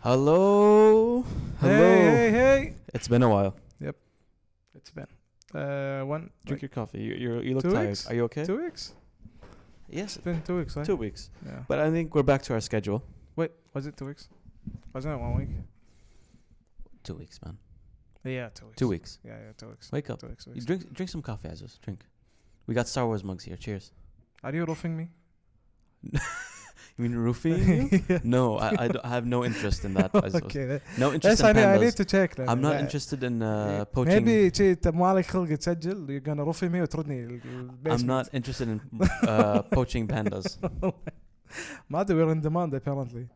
Hello. Hello. Hey, hey, hey. It's been a while. It's been uh, one, Drink like, your coffee. You you, you look two tired. weeks? Are you okay? two weeks. Yes. It's been two weeks, right? Two weeks. Yeah. But I think we're back to our schedule. Wait, was it two weeks? Wasn't it one week? Two weeks, man. Yeah, two weeks. Two weeks. Yeah, yeah, two weeks. Wake up. Two weeks. two You weeks. drink drink some coffee, Azus. Drink. We got Star Wars mugs here. Cheers. Are you roofing me? You mean roofing? you? No, I, I, don't- I have no interest in that. Azus. okay, that, No interest that's in I need, I pandas. need to check that. I'm not Yeah. interested in uh, Yeah. poaching. maybe شي انت مالك خلق تسجل you're gonna roofie me وتردني ال- البيسمنت. I'm not interested in uh, poaching pandas. ما ادري we're in demand apparently.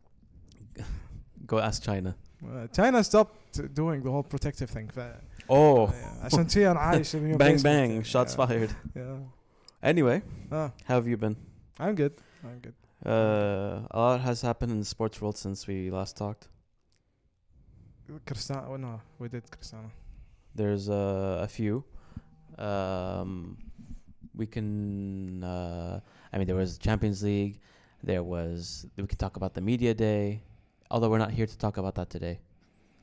Go ask China. Uh, China stopped doing the whole protective thing ف Oh, yeah, عشان شي انا عايش in your bang basement. bang! Shots Yeah. fired. Yeah. Anyway, eh, Ah, how have you been? I'm good. I'm good. Uh, a lot has happened in the sports world since we last talked. Cristiano, well, oh, no, we did Cristiano. There's uh, a few. Um, we can. Uh, I mean, there was Champions League. There was. We can talk about the media day, although we're not here to talk about that today.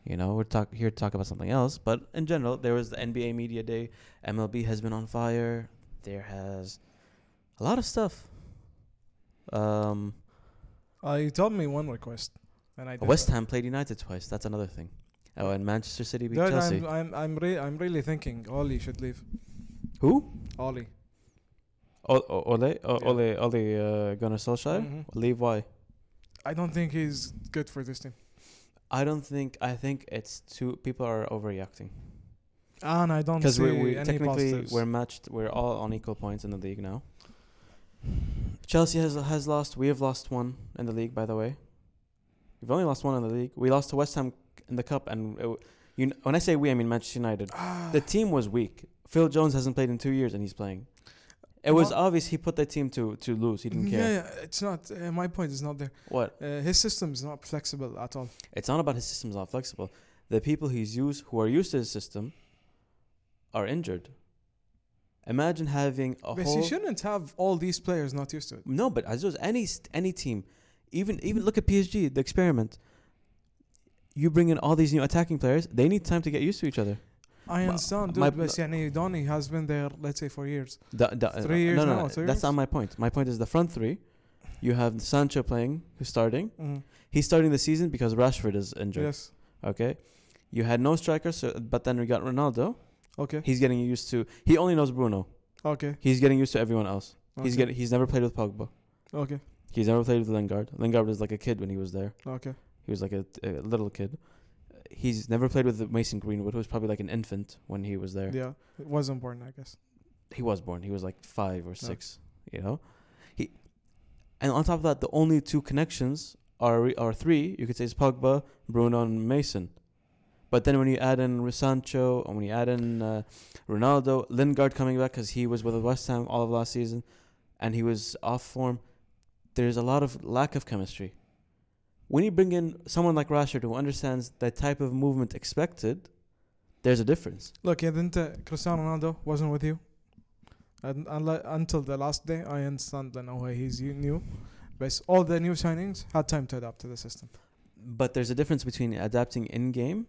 You know, we're talk here to talk about something else. But in general, there was the NBA media day. MLB has been on fire. There has a lot of stuff. Um, Uh, you told me one request, and I did West that. Ham played United twice. That's another thing. Oh, and Manchester City beat Dude, Chelsea. I'm I'm I'm, re- I'm really thinking Oli should leave. Who? Oli. O- O- Ole, o- Yeah. Ole, Ole uh, Gunnar Solskjaer? Mhm. Leave why? I don't think he's good for this team. I don't think. I think it's too. People are overreacting Ah, And I don't because see we, we any technically positives. we're matched. We're all on equal points in the league now. Chelsea has has lost. We have lost one in the league, by the way. We've only lost one in the league. We lost to West Ham in the cup, and it, w- you. Kn- when I say we, I mean Manchester United. Ah, the team was weak. Phil Jones hasn't played in two years, and he's playing. It was Well- Mm, obvious he put the team to to lose. He didn't yeah, care. yeah, it's not. Uh, my point is not there. What? Uh, his system is not flexible at all. It's not about his system's not flexible. The people he's used who are used to his system are injured. Imagine having a But whole he shouldn't have all these players not used to it. no, but as was any st- any team, even even look at PSG, the experiment. You bring in all these new attacking players; they need time to get used to each other. I Ma- understand, dude. my- but يعني Donny has been there, let's say, for years. The, the, uh, Three years no, no, now, no, two that's not years? my point. My point is the front three. You have Sancho playing, who's starting. Mm. He's starting the season because Rashford is injured. Yes. Okay, you had no strikers, so, but then we got Ronaldo. Okay. He's getting used to. He only knows Bruno. Okay. He's getting used to everyone else. He's okay, getting. He's never played with Pogba. Okay. He's never played with Lingard. Lingard was like a kid when he was there. Okay. He was like a, a little kid. He's never played with Mason Greenwood, who was probably like an infant when he was there. Yeah. It was important, I guess. He was born. He was like five or six. You know, he. And on top of that, the only two connections are are three. You could say is Pogba, Bruno, and Mason. But then when you add in Sancho and when you add in uh, Ronaldo, Lingard coming back because he was with West Ham all of last season, and he was off form. There's a lot of lack of chemistry. When you bring in someone like Rashford who understands the type of movement expected, there's a difference. Look, yeah, then uh, Cristiano Ronaldo wasn't with you. And, unli- until the last day, I understand that no way he's you- new. But all the new signings had time to adapt to the system. But there's a difference between adapting in game,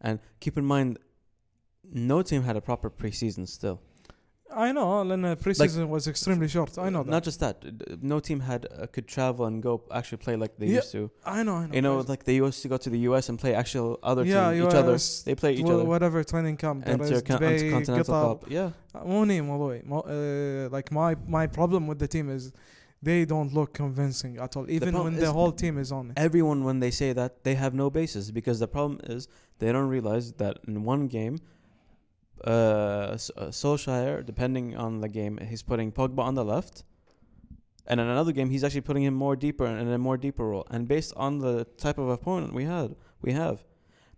and keep in mind, no team had a proper preseason still. I know, and uh, preseason was extremely short. I know that. Not just that, d- no team had uh, could travel and go actually play like they Yeah. used to. I know, I know. You know, Crazy. like they used to go to the U.S. and play actual other Yeah, team, each other. US, They play each wha- other. Whatever training camp there is, Intercon- Dubai, Intercontinental Qatar. Cup. Yeah, مو نيم والله مو- uh, like my my problem with the team is they don't look convincing at all even problem when the is- whole team is on it. everyone when they say that they have no basis because the problem is they don't realize that in one game, uh, S- uh, Solskjaer, depending on the game, he's putting Pogba on the left, and in another game he's actually putting him more deeper and in a more deeper role. And based on the type of opponent we had, we have,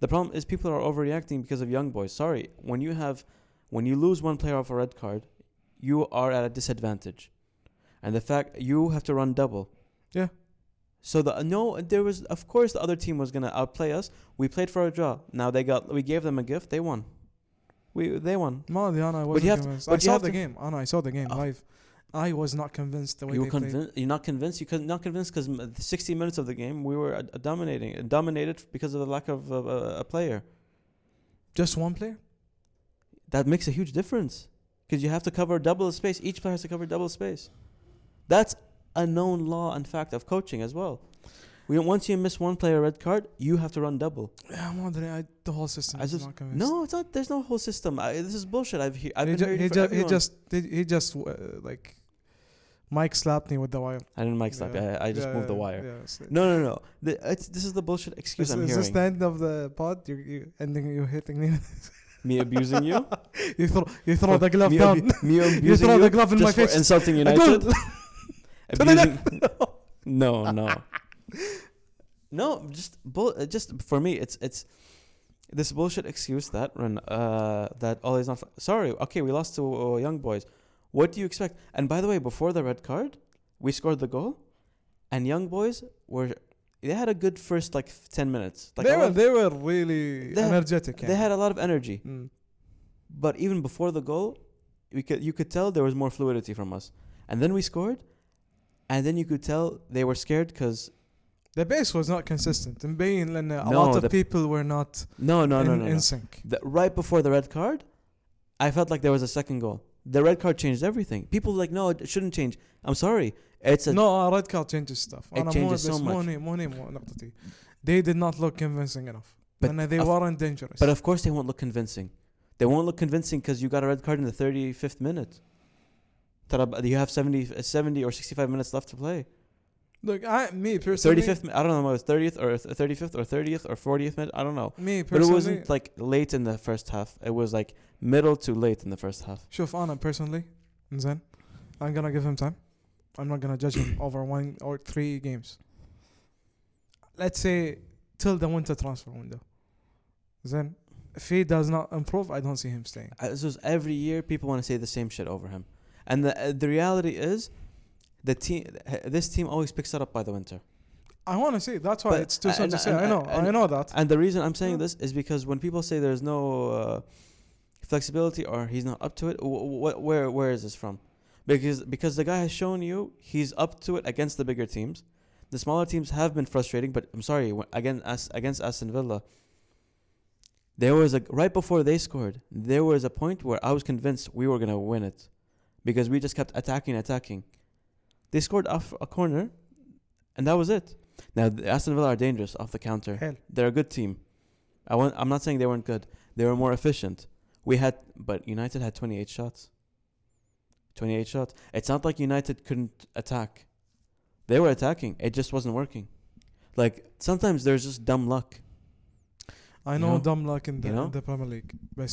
the problem is people are overreacting because of young boys. Sorry, when you have, when you lose one player off a red card, you are at a disadvantage, and the fact you have to run double. Yeah. So the no, there was of course the other team was gonna outplay us. We played for a draw. Now they got we gave them a gift. They won. We they won. ما ادري انا I you wasn't have to- convinced. but I you saw have the to- game انا I saw the game Oh. live I was not convinced the way You were they played. convinced. You're not convinced. You could not convinced because 60 minutes of the game we were uh, dominating, uh, dominated because of the lack of uh, uh, a player. Just one player? That makes a huge difference because you have to cover double space. Each player has to cover double space. That's a known law and fact of coaching as well. We, once you miss one player red card, you have to run double. Yeah, Madre, I, the whole system I is just- not convinced. No, it's not. There's no whole system. I, this is bullshit. I've he, I've he, been ju- hearing he, from ju- he everyone. just he, he just uh, like Mike slapped me with the wire. I didn't mic slap. you. Yeah, I, I just yeah, moved the yeah, wire. yeah, so- No, no, no. The, it's, this is the bullshit excuse Is, I'm is hearing. this the end of the pod? You you ending you hitting me? me abusing you. you throw you throw the glove me down. abu- me abusing you throw you the glove in my just face. for insulting I don't- United. abusing. no, no, no. Just bull. uh, Just for me, it's it's this bullshit excuse that run uh that all is not. f- Sorry. Okay, we lost to uh, Young Boys. What do you expect? And by the way, before the red card, we scored the goal, and Young Boys were they had a good first like ten minutes. Like they a were lot- they were really They had- energetic. they yeah. had a lot of energy. Mm. But even before the goal, we could you could tell there was more fluidity from us. And then we scored, and then you could tell they were scared because The base was not consistent. In Bain, and a No, lot the- of people were not no, no, in, no, no, in no. sync. The- right before the red card, I felt like there was a second goal. The red card changed everything. People were like, no, it shouldn't change. I'm sorry, it's a No, a red card changes stuff. It أنا مو- changes so بس مو much. هني- مو هني مو- نقطتي. They did not look convincing enough. But and uh, they of- weren't dangerous. But of course, they won't look convincing. They won't look convincing because you got a red card in the 35th minute. ترى You have 70, uh, 70 or 65 minutes left to play. look, I me personally, 35th, mi- I don't know, it was 30th or th- 35th or 30th or 40th minute. I don't know. me But it personally, wasn't like late in the first half. It was like middle to late in the first half. شوف أنا personally, زين, I'm gonna give him time. I'm not gonna judge him over one or three games. Let's say till the winter transfer window. Then, if he does not improve, I don't see him staying. Uh, This was every year people want to say the same shit over him, and the uh, the reality is, the team this team always picks it up by the winter. I want to see. That's why But- it's too uh, soon and- to say. and- I know. and- I know that. And the reason I'm saying Yeah. this is because when people say there's no uh, flexibility or he's not up to it, wh- wh- where where is this from? Because because the guy has shown you he's up to it against the bigger teams. The smaller teams have been frustrating, but I'm sorry wh- again as, against Aston Villa. There was a right before they scored, there was a point where I was convinced we were gonna win it, because we just kept attacking, attacking. They scored off a corner, and that was it. Now the Aston Villa are dangerous off the counter Hell, they're a good team. I want, I'm not saying they weren't good. They were more efficient. We had, but United had 28 shots. 28 shots. It's not like United couldn't attack. They were attacking. It just wasn't working. Like sometimes there's just dumb luck. I You know know? dumb luck in the, You know? in the Premier League, but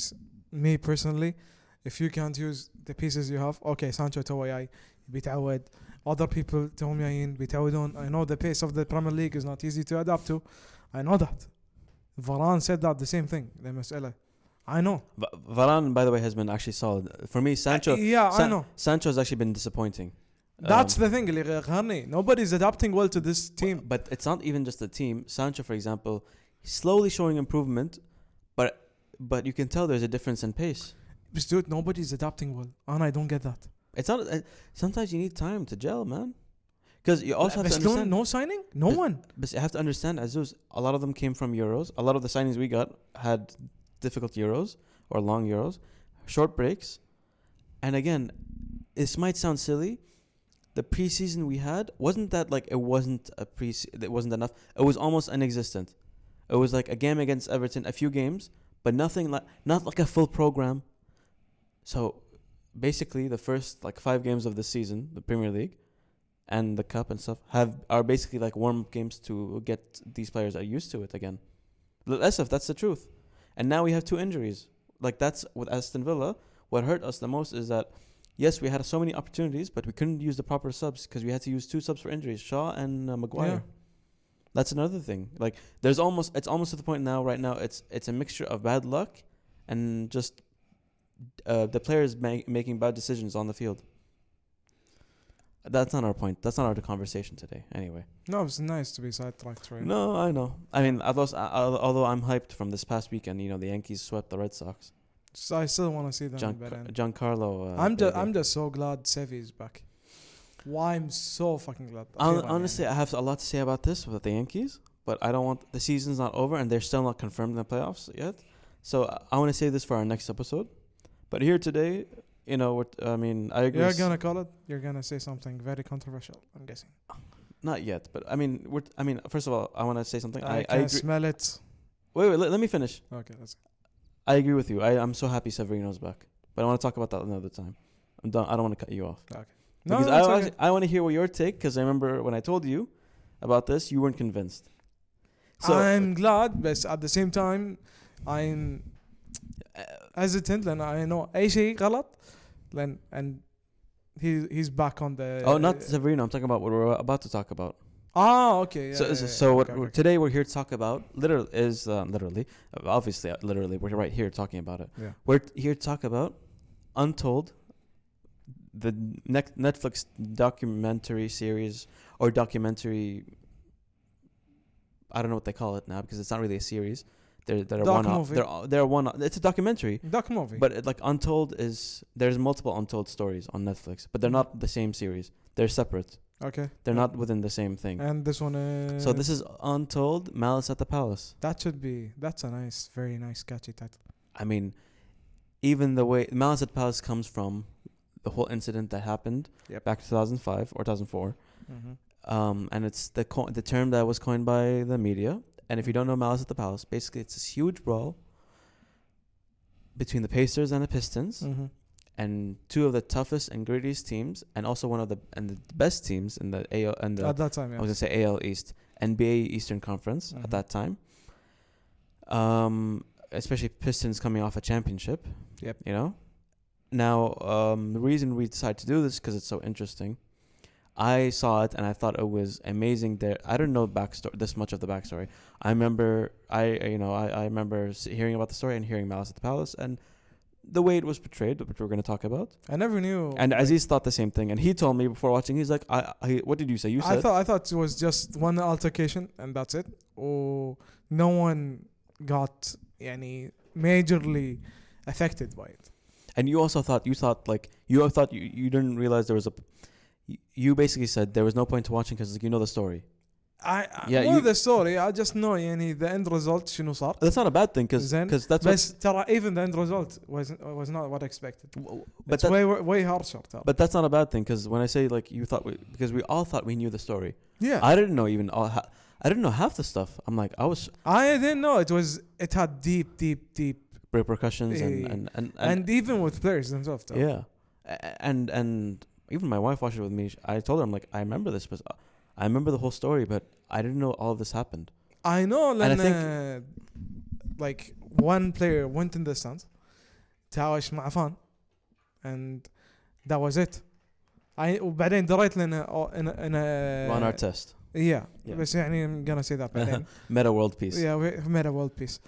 me personally, if you can't use the pieces you have, okay, Sancho تو جاي بيتعود. Other people توهم جايين بيتعودون. I know the pace of the Premier League is not easy to adapt to. I know that. Varane said that the same thing. The مسألة. I know. Va- Varane, by the way, has been actually solid for me. Sancho, Eh, yeah, I San- know. Sancho's actually been disappointing. That's Um, the thing اللي غيرني. Nobody's adapting well to this team. But it's not even just the team. Sancho, for example, he's slowly showing improvement, but but you can tell there's a difference in pace. But dude, nobody's adapting well. And I don't get that. It's not. Uh, sometimes you need time to gel, man. Because you also have But to no, understand. no signing? No But- one. But you have to understand, Azuz. A lot of them came from Euros. A lot of the signings we got had difficult Euros or long Euros, short breaks, and again, this might sound silly. The preseason we had wasn't that like it wasn't a pre. It wasn't enough. It was almost inexistent. It was like a game against Everton, a few games, but nothing like not like a full program. So basically the first like five games of the season, the Premier League and the cup and stuff have are basically like warm up games to get these players are used to it again. L- That's if that's the truth. And now we have two injuries. Like that's with Aston Villa. What hurt us the most is that yes, we had so many opportunities, but we couldn't use the proper subs because we had to use two subs for injuries, Shaw and uh, Maguire. Yeah. That's another thing. Like there's almost it's almost to the point now right now it's it's a mixture of bad luck and just uh, the players ma- making bad decisions on the field. That's not our point. That's not our conversation today. Anyway. No, it's nice to be sidetracked right No, I know. I mean, I lost, I, I- although I'm hyped from this past weekend. You know, the Yankees swept the Red Sox. So I still want to see them. Gian, but, um, Giancarlo. Uh, I'm just baby. I'm just so glad Sevi is back. Why I'm so fucking glad. Hon- أخيراً honestly, I have a lot to say about this with the Yankees, but I don't want the season's not over and they're still not confirmed in the playoffs yet. So uh, I- I want to save this for our next episode. But here today, you know, what I mean, I يعني. agree. You're s- gonna call it. You're gonna say something very controversial. I'm guessing. Not yet, but I mean, we're, I mean, first of all, I want to say something. I, I, can agree. smell it. Wait, wait, let, let me finish. Okay, that's I agree with you. I, I'm so happy Severino's back, but I want to talk about that another time. I'm done. I don't want to cut you off. no. because no, it's I, okay. actually- I want to hear what your take because I remember when I told you about this, you weren't convinced. So I'm glad, but at the same time, I'm Uh, hesitant لأن I know أي شيء غلط لأن and he he's back on the uh, oh, not Severino. I'm talking about what we're about to talk about. ah okay yeah, so, yeah, so, yeah, so okay, what okay, we're- okay. today we're here to talk about literally is um, literally uh, obviously uh, literally we're right here talking about it. Yeah. We're t- here to talk about Untold, the next Netflix documentary series or documentary. I don't know what they call it now because it's not really a series. They're they're Doc one off. movie. They're all- they're one. off. It's a documentary. doc movie But it, like Untold is there's multiple Untold stories on Netflix, but they're not the same series. They're separate. okay They're Mm. Yeah. not within the same thing. and this one uh, So this is Untold Malice at the Palace. that should be that's a nice very nice catchy title I mean, even the way Malice at the Palace comes from the whole incident that happened Yep. back in 2005 or 2004, Mm-hmm. um, and it's the co- the term that was coined by the media. And if you don't know Malice at the Palace, basically it's this huge brawl between the Pacers and the Pistons. Mhm. and two of the toughest and grittiest teams, and also one of the and the best teams in the AL and the at that time I yeah was gonna say AL East NBA Eastern Conference Mhm. at that time. Um, especially Pistons coming off a championship. Yep. You know. Now, um, the reason we decided to do this because it's so interesting. I saw it and I thought it was amazing. There, I don't know backstory this much of the backstory. I remember, I you know, I, I remember s- hearing about the story and hearing Malice at the Palace and the way it was portrayed, which we're going to talk about. I never knew And Aziz thought the same thing, and he told me before watching. He's like, "I, I what did you say? You said I thought I thought it was just one altercation and that's it. Or no one got any majorly affected by it. And you also thought you thought like you thought you, you didn't realize there was a. You basically said there was no point to watching because you know the story. I I- Yeah, more you- the story. I just know يعني the end result شنو صار. That's not a bad thing because Then- that's what, بس ترى even the end result was was not what I expected. but It's that, way way harsher ترى. but that's not a bad thing because when I say like you thought we, because we all thought we knew the story. yeah. I I, didn't know even all. Ha- I didn't know half the stuff. I'm like I was didn't know it was it had deep deep deep repercussions and Yeah. and and, and, even with players themselves ترى. yeah, A- and and even my wife watched it with me. Sh- I told her I'm like I remember this, but uh, I remember the whole story, but I didn't know all of this happened. I know I لأن uh, like one player went in the stands تعاوش مع فان and that was it I وبعدين دريت لأن uh, oh, in a, in a Ron Artest, yeah, Yeah. بس يعني I'm gonna say that بعدين meta world peace. yeah we we made a world peace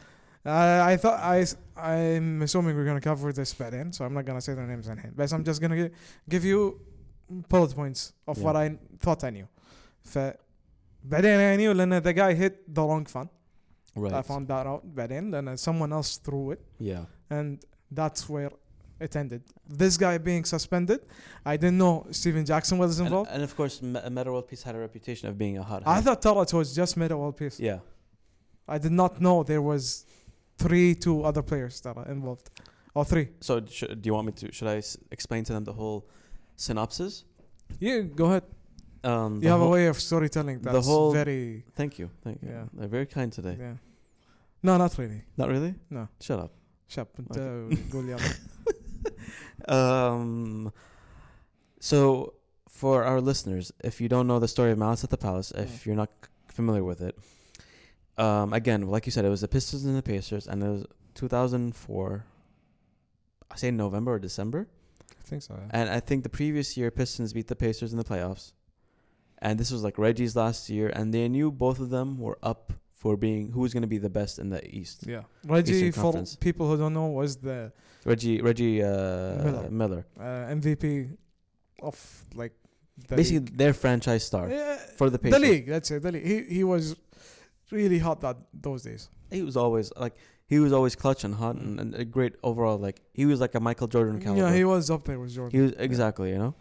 uh, I thought I I'm assuming we're gonna cover this بعدين so I'm not gonna say their names الحين but I'm just gonna gi- give you bullet points of Yeah. what I thought I knew ف بعدين I knew لأن the guy hit the wrong fan Right. I found that out بعدين لأن someone else threw it Yeah. and that's where it ended. This guy being suspended, I didn't know Steven Jackson was And, uh, involved. and of course, Me- Meta World Peace had a reputation of being a hot. I hand. thought Talat was just made a world peace. Yeah. I did not know there was three, two other players that are involved. Or three. So sh- do you want me to? Should I s- explain to them the whole synopsis? Yeah, go ahead. Um, the You have a whole- way of storytelling the that's whole- very Thank you. Thank you. Yeah. They're very kind today. yeah. No, not really. uh, Not really. No. Shut up. شاب انت Okay. قول يلا. Um, so for our listeners, if you don't know the story of Malice at the Palace, if Mm. you're not c- familiar with it, um, again, like you said, it was the Pistons and the Pacers, and it was 2004. I say November or December. I think so. yeah. And I think the previous year, Pistons beat the Pacers in the playoffs. And this was like Reggie's last year, and they knew both of them were up for being who was going to be the best in the East. Yeah. Reggie, for Conference. people who don't know, was the Reggie, Reggie uh, Miller. Miller. uh, MVP of like the Basically, league. their franchise star Yeah, for the the Pacers. league. That's it. The league. He he was really hot that those days. He was always like he was always clutch and hot and, and a great overall. Like he was like a Michael Jordan caliber. Yeah, he was up there with Jordan. He was exactly, you know.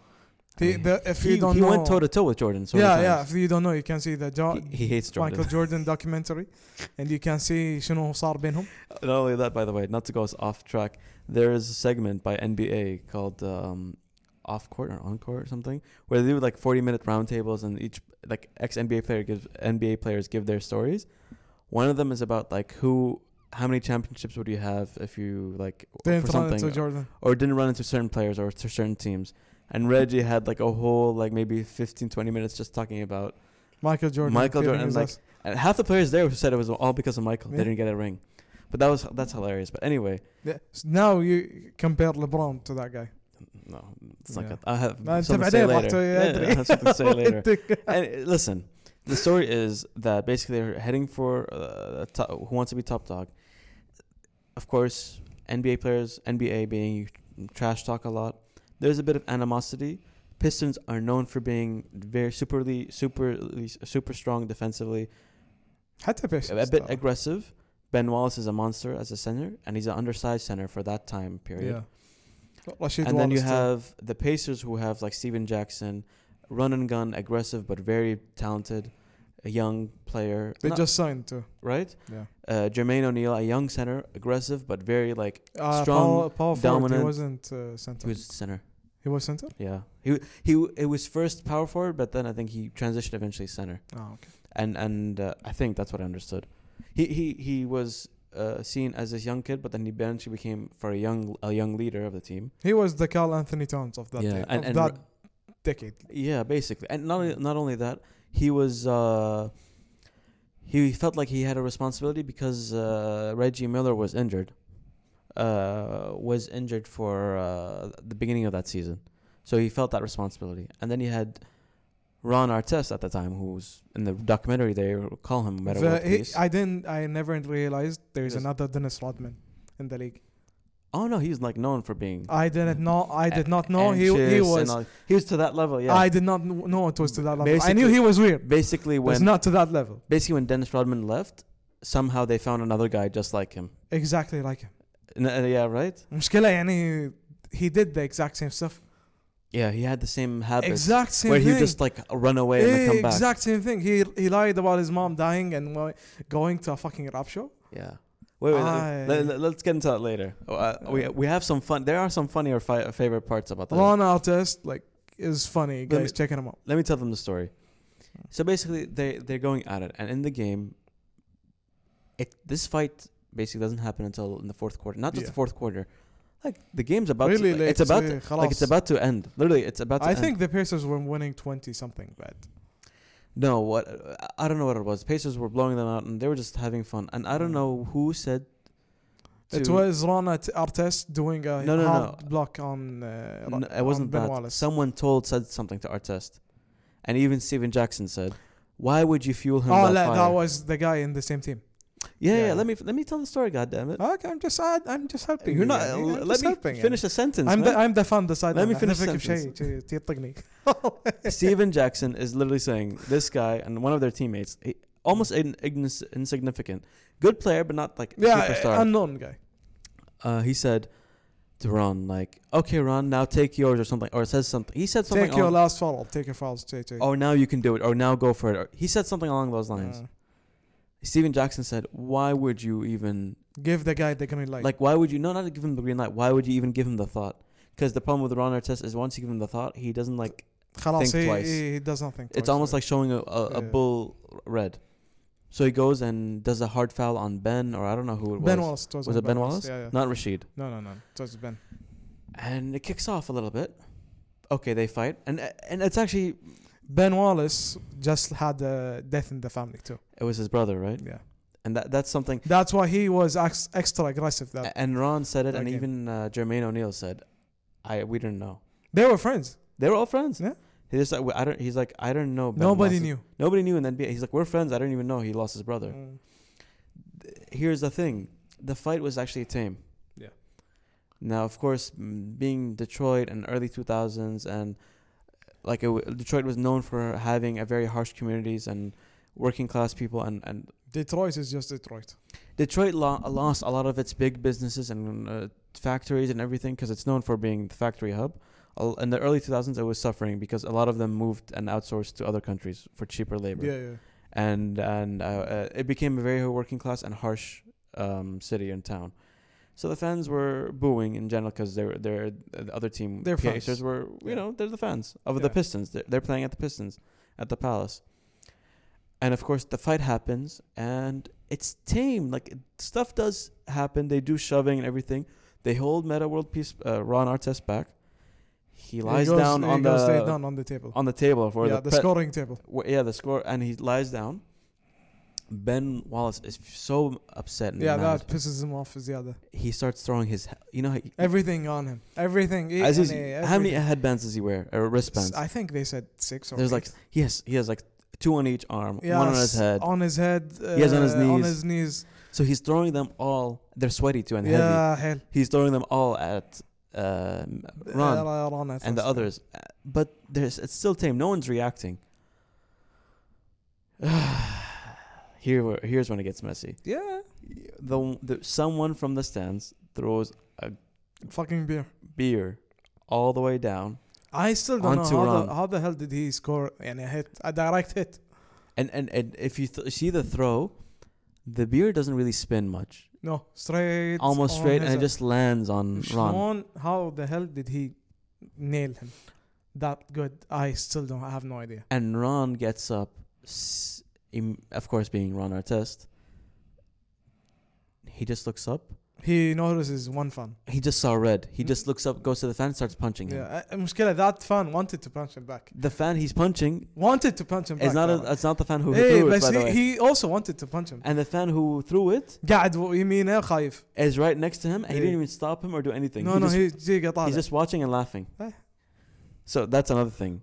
I He, mean, the, if he, you don't he know, went toe to toe with Jordan. So many yeah, yeah. times. If you don't know, you can see the He, John he hates Jordan. Michael Jordan documentary, and you can see شنو صار بينهم. Not only that, by the way, not to go us off track, there is a segment by NBA called um, Off Court or On Court or something, where they do like 40 minute roundtables and each like ex NBA player gives NBA players give their stories. One of them is about like who, how many championships would you have if you like Didn't for run into something uh, Jordan. or didn't run into certain players or to certain teams. And Reggie had like a whole like maybe 15 20 minutes just talking about Michael Jordan. Michael appearing Jordan, as like, us. and half the players there said it was all because of Michael. Yeah. They didn't get a ring. But that was that's hilarious. But anyway, Yeah. So now you compare LeBron to that guy. No, it's not Yeah. good. I have No, أنت Mm, something to say بعدين راح later. تسوي Yeah, أدري. I have something to say later. ودك. And uh, listen, the story is that basically they're heading for uh, a to- who wants to be top dog. Of course, NBA players, NBA being you trash talk a lot. There's a bit of animosity. Pistons are known for being very superly, superly, super strong defensively, حتى بيش a bit aggressive. Ben Wallace is a monster as a center, and he's an undersized center for that time period. Rashid and then you Wallace too. have the Pacers who have like Steven Jackson, run and gun, aggressive but very talented, a young player. they Not- just signed too. right. Yeah. Uh, Jermaine O'Neal, a young center, aggressive but very like Uh, Strong, power, power forward, he dominant. wasn't uh, center. he was center. he was center. Yeah, he he it was first power forward, but then I think he transitioned eventually center, Oh, okay. and and uh, I think that's what I understood. He he he was. Uh, seen as this young kid, but then he eventually became for a young a young leader of the team. He was the Carl Anthony Towns of that Yeah, day, and- of and that Ra- decade. Yeah, basically, and not only, not only that, he was uh, he felt like he had a responsibility because uh, Reggie Miller was injured, uh, was injured for uh, the beginning of that season, so he felt that responsibility. And then he had Ron Artest at the time, who's in the documentary they call him Metal The- World he- Peace. I didn't. I never realized there is Yes. another Dennis Rodman in the league. oh no, he's like known for being. I didn't know. I did a- not know he anxious he and was. all- he was to that level. Yeah, I did not kn- know it was to that level. I knew Basically- he was weird. basically But it's when not to that level. basically when Dennis Rodman left, somehow they found another guy just like him. Exactly like him. N- uh, yeah, right. المشكلة يعني he did the exact same stuff. Yeah, he had the same habits Exact same where thing. he would just like run away and then Yeah, come back. exact same thing. He he lied about his mom dying and wa- going to a fucking rap show. Yeah. Wait, wait. I- Let, us get into that later. Oh, uh, we we have some fun. There are some funny or fi- favorite parts about that. Ron Artest like is funny. Let Guys, me- checking him out. Let me tell them the story. So basically, they they're going at it, and in the game, it this fight basically doesn't happen until in the fourth quarter. Not just Yeah. the fourth quarter. Like the game's about really to, late. it's about so like it's خلاص. about to end. Literally, it's about to I end. think the Pacers were winning twenty something, but No, what I- I don't know what it was. Pacers were blowing them out, and they were just having fun. And I don't know who said. Mm. it to- was Ron Art- Artest doing a No, no, hard no. block on. Uh, N- Ra- it wasn't on ben that. Wallace. Someone told said something to Artest, and even Steven Jackson said, "Why would you fuel him?" Oh, that, that, fire? that was the guy in the same team. yeah, yeah, yeah. Let me let me tell the story. God damn it! Okay, I'm just I, I'm just helping. You're you, not. يعني. I'm let just me helping, finish يعني. a sentence. I'm the man. I'm the fan decided. Let me finish sentence. تيطقني. Steven Jackson is literally saying this guy and one of their teammates, he, almost in, ignis, insignificant, good player, but not like superstar. Mm. Yeah, unknown guy. uh, he said to Ron, like, okay, Ron, now take yours or something, or says something. He said something. Take your al- last foul. Take your fouls. Take, take. or now you can do it, or now go for it. Or, he said something along those lines. Uh, Steven Jackson said, why would you even, give the guy the green light. like, why would you, no, not give him the green light. Why would you even give him the thought? Because the problem with Ron Artest is once you give him the thought, he doesn't like, خلاص, think he, twice. He, he does not think. it's twice. almost like showing a, a, a Yeah. bull red. So he goes and does a hard foul on Ben, or I don't know who it was. Ben Wallace. It was, Was on it Ben Wallace? Yeah, yeah. Not Rashid. No, no, no. It was Ben. and it kicks off a little bit. Okay, they fight, and and it's actually Ben Wallace just had a death in the family too. it was his brother, right? Yeah, And that that's something. that's why he was ex- extra aggressive. That A- And Ron said it, and Okay. even uh, Jermaine O'Neal said, "I we didn't know. they were friends. They were all friends." Yeah. He just like "Well, I don't. He's like I don't know. Ben Nobody lost his-" knew. Nobody knew, and then he's like, "We're friends. I didn't even know he lost his brother." Mm. Here's the thing: the fight was actually tame. Yeah. Now, of course, m- being Detroit and early 2000s, and like it w- Detroit was known for having a very harsh communities and working class people, and and Detroit is just Detroit. Detroit lo- lost a lot of its big businesses and uh, factories and everything because it's known for being the factory hub. al- in the early 2000s, it was suffering because a lot of them moved and outsourced to other countries for cheaper labor. Yeah, yeah. and and uh, uh, it became a very working class and harsh um, city and town. So the fans were booing in general because they're they're uh, the other team. They're PSers fans. were you Yeah. know they're the fans of Yeah. the Pistons. They're, they're playing at the Pistons at the Palace, and of course the fight happens and it's tame. Like stuff does happen. They do shoving and everything. They hold Meta World Peace uh, Ron Artest back. He lies goes- down he on goes the lay down on the table. on the table for yeah, the, the, pre- scoring table. Wh- yeah, the score, and he lies down. Ben Wallace is so upset. And Yeah, mad. that pisses him off is the other. he starts throwing his. he- You know, he, Everything on him. Everything. He- as he's- and he- how many everything. headbands does he wear or wristbands? I think they said six or There's like eight. yes, he has like two on each arm, Yeah, one on his s- head. On his head. Uh, He has on his On knees. his knees. So he's throwing them all. They're sweaty too and heavy. yeah, hell. He's throwing them all at um, Ron Uh, Ron at and the first. others, Uh, but there's it's still tame. No one's reacting. Here, where- here's when it gets messy. Yeah, the, the someone from the stands throws fucking beer. beer all the way down, I still don't know Onto how Ron. the, how the hell did he score and a hit a direct hit. and and, and if you th- see the throw, the beer doesn't really spin much, No, straight. almost on straight, his and it head. just lands on Ron. Sean, how the hell did he nail him that good? I still don't. I have no idea. And Ron gets up, s- im- of course, being Ron Artest. He just looks up. He notices one fan. He just saw red. He just looks up, goes to the fan, starts punching him. Yeah, uh, مشكلة that fan wanted to punch him back. The fan he's punching Wanted to punch him back. is not. طبعاً. A, it's not the fan who hey, threw it, by but the way. he, he also wanted to punch him. and the fan who threw it قاعد و- يمينه خايف. is right next to him. and He Yeah. didn't even stop him or do anything. No, he no, just he جي قطع. He's just watching and laughing. Eh. So that's another thing.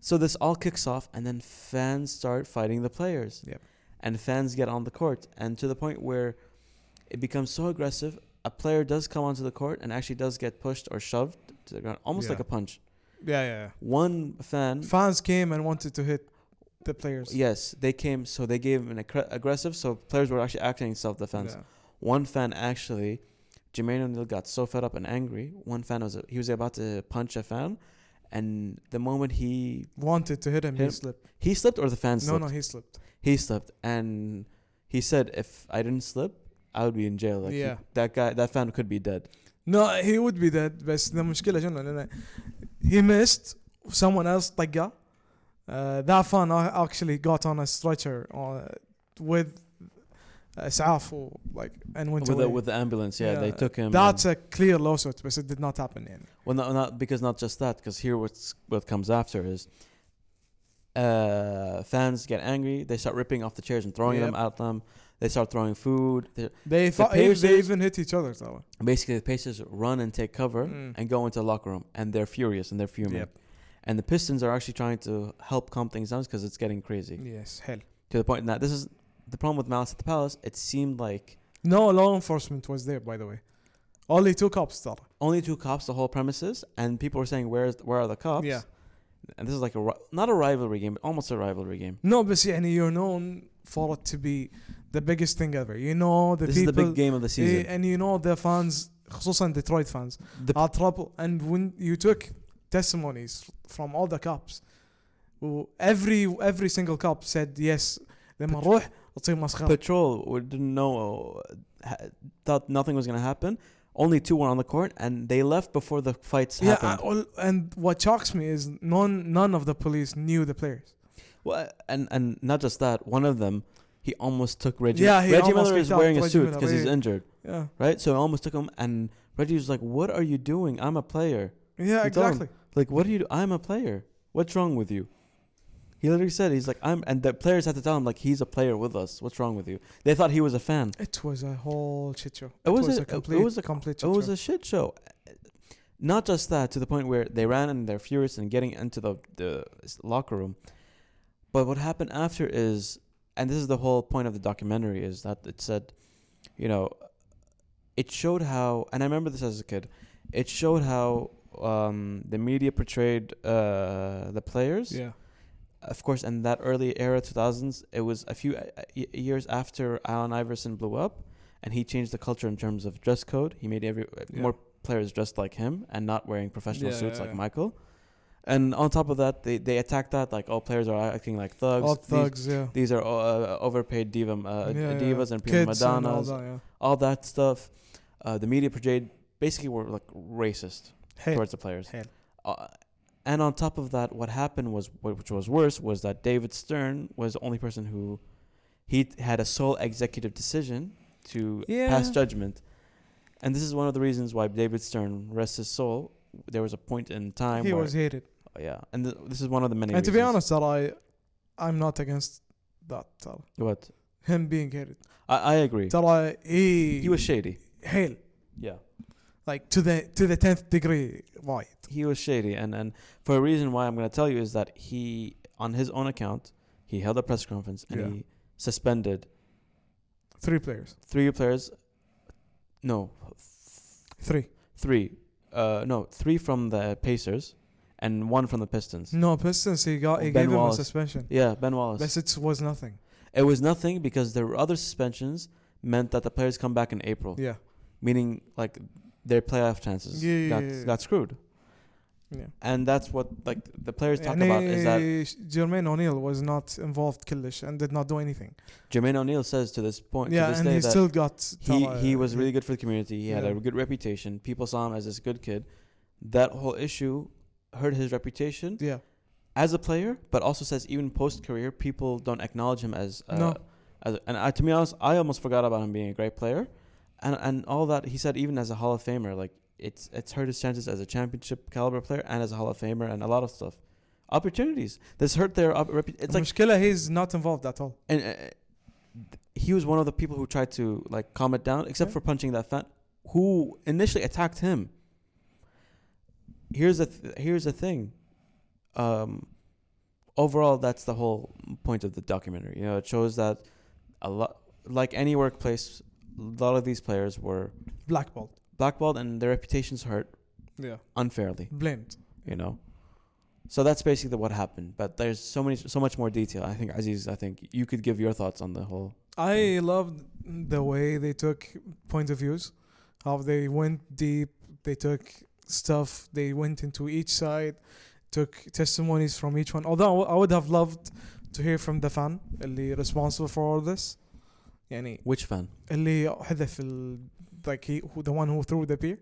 So this all kicks off, and then fans start fighting the players. Yep. And fans get on the court, and to the point where it becomes so aggressive, a player does come onto the court and actually does get pushed or shoved to the ground, almost Yeah. like a punch. Yeah, yeah, One fan, yeah. Fans came and wanted to hit the players. yes, they came, so they gave an aggr- aggressive, so players were actually acting in self defense. Yeah. One fan actually, Jermaine O'Neal got so fed up and angry. One fan was he was about to punch a fan, and the moment he Wanted to hit him, he Him? slipped. he slipped or the fan No, slipped, no, he slipped. he slipped, and he said, "If I didn't slip, I would be in jail. Like he- Yeah. that guy, that fan could be dead." No, he would be dead بس المشكلة شنو لأن he missed someone else طقه uh, that fan actually got on a stretcher uh, with اسعاف و like and went With away. the, with the ambulance, yeah, they Yeah, took him. That's and- a clear lawsuit بس it did not happen يعني. well, no, not because not just that, because here what's what comes after is. Uh, fans get angry. They start ripping off the chairs and throwing them Yep. at them. They start throwing food. They- They fought, Pacers- they even hit each other ترى. basically the Pacers run and take cover Mm. and go into the locker room and they're furious and they're fuming. Yep. And the Pistons are actually trying to help calm things down because it's getting crazy Yes, hell. to the point that this is the problem with Malice at the Palace. It seemed like No law enforcement was there by the way. Only two cops ترى. only two cops the whole premises, and people were saying where's where are the cops? Yeah. And this is like a ri- not a rivalry game, but almost a rivalry game. No بس يعني you're known for it to be the biggest thing ever. You know the this people is the big game of the season. Eh, and you know the fans خصوصا Detroit fans The- are trouble and when you took testimonies from all the cops w- every every single cop said yes لما But- نروح تصير مسخره patrol who didn't know uh, ha- thought nothing was gonna happen. Only two were on the court, and they left before the fights yeah happened. I- all, and what shocks me is none none of the police knew the players Well, and and not just that, one of them, he almost took Reggie. Yeah, he Reggie almost Miller is kicked out wearing a Reggie suit Miller, because he's yeah. injured, yeah right? So he almost took him, and Reggie was like, "What are you doing? I'm a player. yeah You told exactly Like, what are you? Do- I'm a player. What's wrong with you?" He literally said, "He's like, I'm," and the players had to tell him, "Like, he's a player with us. What's wrong with you?" They thought he was a fan. it was a whole shit show It was a- it- it complete was a- complete It shit was show a shit show. Not just that, to the point where they ran and they're furious and getting into the, the s- locker room. But what happened after is, and this is the whole point of the documentary, is that it said, you know, it showed how, and I remember this as a kid, it showed how um, the media portrayed uh, the players. yeah Of course, in that early era, 2000s, it was a few uh, y- years after Allen Iverson blew up, and he changed the culture in terms of dress code. He made every uh, Yeah. more players dressed like him and not wearing professional Yeah, suits yeah, like yeah. Michael. And on top of that, they, they attack that like all players are acting like thugs. All These- thugs, yeah. These, are uh, overpaid diva, uh, Yeah, divas yeah. and prima Kids and all madonnas, all, that, yeah. that stuff. Uh, the media portrayed basically were like racist Hey, towards the players. Hell. Uh, and on top of that, what happened was, wh- which was worse, was that David Stern was the only person who he t- had a sole executive decision to pass Yeah. judgment. And this is one of the reasons why David Stern rests his soul. There was a point in time he where, oh, was hated. yeah, and th- this is one of the many. And to be reasons. honest, that I, I'm not against that. Tell what him being hated. I, I agree, Tell I he he was shady. hail Yeah, like to the to the tenth degree. Why? he was shady, and and for a reason why I'm going to tell you is that he, on his own account, he held a press conference and Yeah. he suspended Three players. three players. No, Three. three. Uh, no, three from the Pacers, and one from the Pistons. No Pistons. He got. He Oh, Ben gave him a Wallace. suspension. Yeah, Ben Wallace. But it was nothing. It was nothing because there were other suspensions meant that the players come back in April, Yeah. meaning like their playoff chances Yeah, yeah, got, yeah, yeah. got screwed. Yeah. And that's what like the players talk يعني about is that Jermaine O'Neal was not involved كلش and did not do anything. Jermaine O'Neal says to this point to yeah, this and day he that still got. he ترى- he was really good for the community. He had Yeah. a good reputation. People saw him as this good kid. That whole issue hurt his reputation Yeah. as a player, but also says even post career people don't acknowledge him as uh, No. As, and I, to be honest, I almost forgot about him being a great player, and and all that he said even as a Hall of Famer, like it's it's hurt his chances as a championship caliber player and as a Hall of Famer and a lot of stuff, opportunities. This hurt their op- repu- It's like المشكلة he's not involved at all. and uh, th- he was one of the people who tried to like calm it down, except Yeah. for punching that fan who initially attacked him. Here's the th- here's the thing. Um, overall, that's the whole point of the documentary. You know, it shows that a lot, like any workplace, a lot of these players were Blackballed. blackballed and their reputations hurt Yeah. unfairly. Blamed. You know. So that's basically what happened, but there's so many, so much more detail. I think Aziz, I think you could give your thoughts on the whole I loved the way they took point of views, how they went deep, they took stuff, they went into each side, took testimonies from each one. Although I would have loved to hear from the fan اللي responsible for all this. يعني Which fan? اللي حذف ال like he who, the one who threw the beer.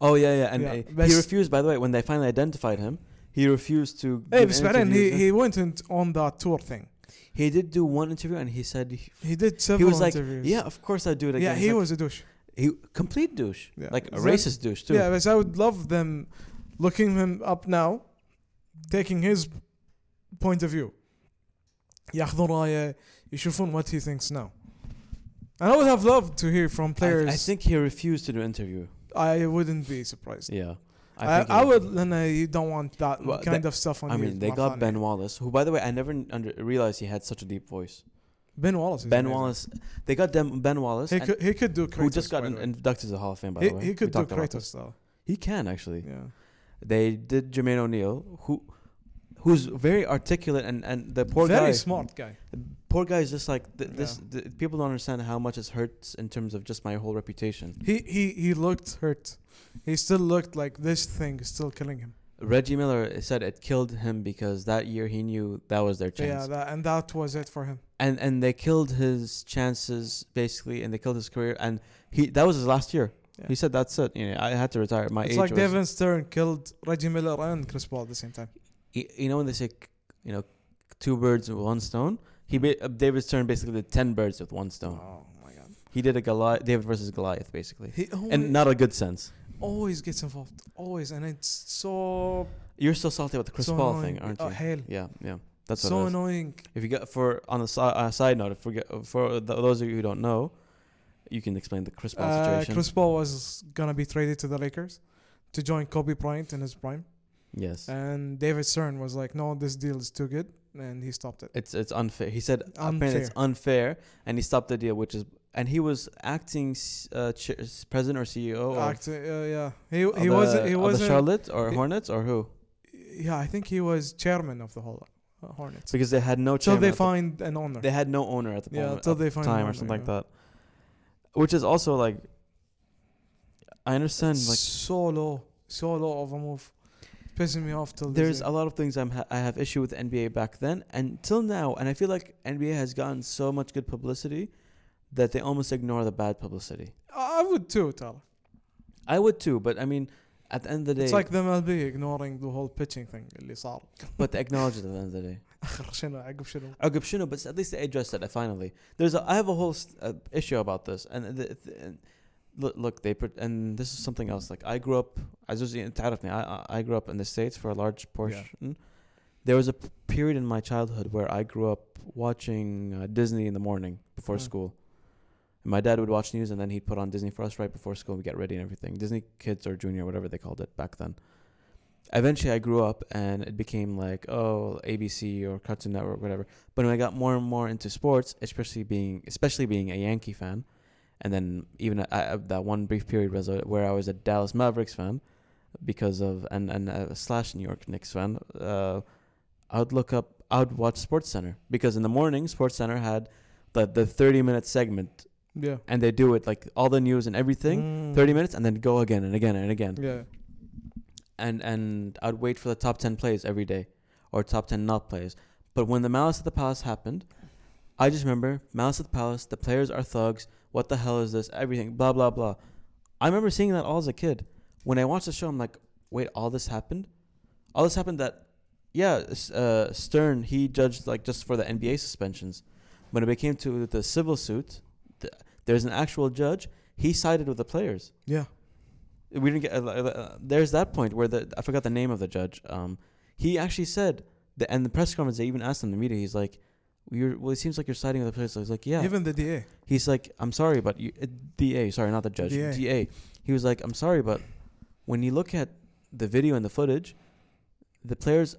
Oh yeah, yeah. And Yeah, uh, best- he refused. By the way, when they finally identified him, he refused to. Hey, give بس بعدين he, interviews. he went in on that tour thing. He did do one interview, and he said he, He did he several was like, interviews. "Yeah, of course I do it again." yeah, It's he like, was a douche. he complete douche, Yeah. like a Is that- racist douche too. Yeah, but I would love them looking him up now, taking his point of view. ياخذون رايه يشوفون what he thinks now. And I would have loved to hear from players. players. I, think he refused to do interview. I wouldn't be surprised. Yeah, I, think he I refused. would, and I don't want that Well, kind they- of stuff on I you, mean, they my got friend. Ben Wallace, who, by the way, I never under, realized he had such a deep voice. Ben Wallace. is ben amazing. Wallace, they got them, Ben Wallace, He and- could, he could do Kratos. who just got by in, the way. inducted to the Hall of Fame. By the way, he, he We could do talked about this. Kratos though. He can actually. Yeah. They did Jermaine O'Neal, who who's very articulate and and the poor Very guy. smart guy. poor guy is just like th- this. Yeah. Th- people don't understand how much it hurts in terms of just my whole reputation. He he he looked hurt. He still looked like this thing is still killing him. Reggie Miller said it killed him because that year he knew that was their chance, Yeah, that, and that was it for him. and and they killed his chances basically, and they killed his career. And he that was his last year. Yeah. He said that's it. You know, I had to retire. My it's age like was, Devin Stern killed Reggie Miller and Chris Paul at the same time. y- you know when they say c- you know two birds with one stone. He ba- uh, David Stern basically did ten birds with one stone. Oh my god. He did a Goliath, David versus Goliath, basically, He always, and not a good sense. always gets involved. Always. And it's so. You're still salty about the Chris so Paul annoying. thing, aren't Oh, you? hell. Yeah, yeah. That's what so it is. annoying. If you got for on the si- uh, side note, if we get, for th- those of you who don't know, you can explain the Chris Paul Uh, situation. Chris Paul was going to be traded to the Lakers to join Kobe Bryant in his prime. yes, And David Stern was like, no, this deal is too good. And he stopped it. it's it's unfair. He said apparently it's unfair, and he stopped the deal, which is and he was acting s- uh, chair, s- president or E CEO or Act, uh, yeah. He, of the, he wasn't. He of the wasn't. Charlotte or he- Hornets or who? Yeah, I think he was chairman of the whole uh, Hornets. Because they had no Till chairman they at the- find an owner. they had no owner at the Yeah, moment, till at they the find an time or owner, something like yeah. that, which is also like I understand. Like so low, so low of a move. Pissing me off till this there's day. a lot of things I'm ha- I have issue with NBA back then and till now, and I feel like NBA has gotten so much good publicity that they almost ignore the bad publicity. I I would too, Tyler. I would too, but I mean, at the end of the day, It's like the MLB ignoring the whole pitching thing اللي صار. but they acknowledge it at the end of the day. آخر شنو عقب شنو؟ عقب شنو بس at least they addressed it uh, finally there's a, I have a whole s- uh, issue about this and, the, th- and look, look they put and this is something else like I grew up as you see- تعرفني I, I grew up in the states for a large portion there was a p- period in my childhood where I grew up watching uh, Disney in the morning before Mm. school and my dad would watch news and then he'd put on Disney for us right before school and we get ready and everything Disney kids or junior whatever they called it back then eventually I grew up and it became like oh ABC or Cartoon Network whatever. But when I got more and more into sports, especially being especially being a Yankee fan, and then even I, I, that one brief period was uh, where I was a Dallas Mavericks fan because of and and uh, slash New York Knicks fan. Uh, I would look up. I would watch Sports Center because in the morning Sports Center had the the thirty minute segment Yeah. and they do it like all the news and everything. Mm. 30 minutes and then go again and again and again Yeah. and and I'd wait for the top ten plays every day, or top ten not plays. But when the Malice at the Palace happened, I just remember Malice at the Palace. The players are thugs. What the hell is this? Everything. Blah blah blah. I remember seeing that all as a kid. When I watched the show, I'm like, wait, all this happened. All this happened that, yeah, S- uh, Stern he judged like just for the NBA suspensions. When it became to the civil suit, th- there's an actual judge. He sided with the players Yeah. we didn't get. Uh, uh, there's that point where the I forgot the name of the judge. Um, he actually said, the, and the press conference they even asked him in the media. He's like, "You're well. It seems like you're siding with the police." He's like, "Yeah." Even the DA. he's like, "I'm sorry, but you, uh, DA. Sorry, not the judge. DA. DA. He was like, "I'm sorry, but when you look at the video and the footage, the players."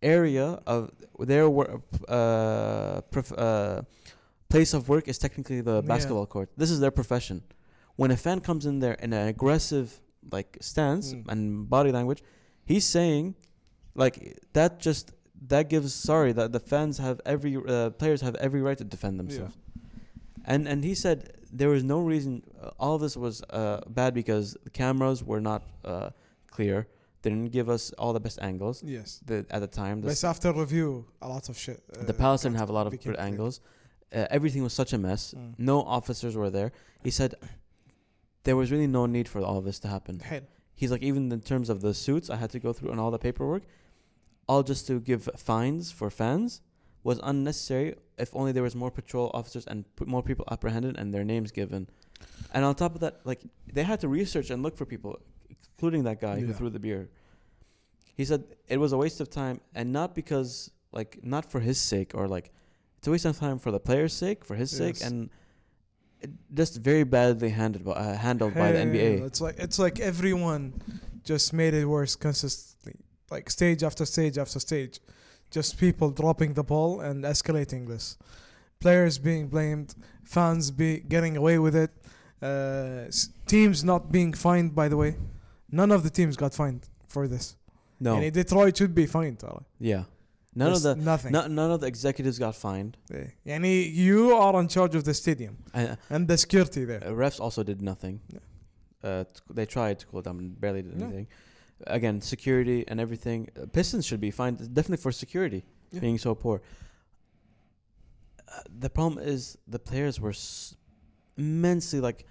Area of their wor- uh, prof- uh, place of work is technically the Yeah. basketball court. This is their profession when a fan comes in there in an aggressive like stance Mm. and body language, he's saying like that just that gives sorry that the fans have every uh, players have every right to defend themselves. And and he said there was no reason uh, all this was uh, bad because the cameras were not uh, clear. They didn't give us all the best angles Yes. the, at the time. The, But after review, a lot of shit. the uh, palace didn't have a lot of became good clear. angles. Uh, everything was such a mess. Mm. No officers were there. He said there was really no need for all this to happen. حلو. He's like, even in terms of the suits, I had to go through and all the paperwork, all just to give fines for fans was unnecessary. If only there was more patrol officers and p- more people apprehended and their names given. And on top of that, like they had to research and look for people, including that guy who Yeah. threw the beer. He said it was a waste of time, and not because like not for his sake or like it's a waste of time for the player's sake, for his sake, Yes. and it just very badly handled by, uh, handled by the Hell, NBA. It's like it's like everyone just made it worse consistently, like stage after stage after stage, just people dropping the ball and escalating this, players being blamed, fans be getting away with it, uh, s- teams not being fined. By the way, none of the teams got fined for this. No, And Detroit should be fined. Tara. Yeah. None There's of the nothing. no, none of the executives got fined. Yeah. يعني you are in charge of the stadium Uh, and the security uh, there. refs also did nothing. Yeah. Uh, t- they tried to cool down and barely did Yeah. anything. Again, security and everything. Uh, Pistons should be fined definitely for security Yeah. being so poor. Uh, the problem is the players were s- immensely like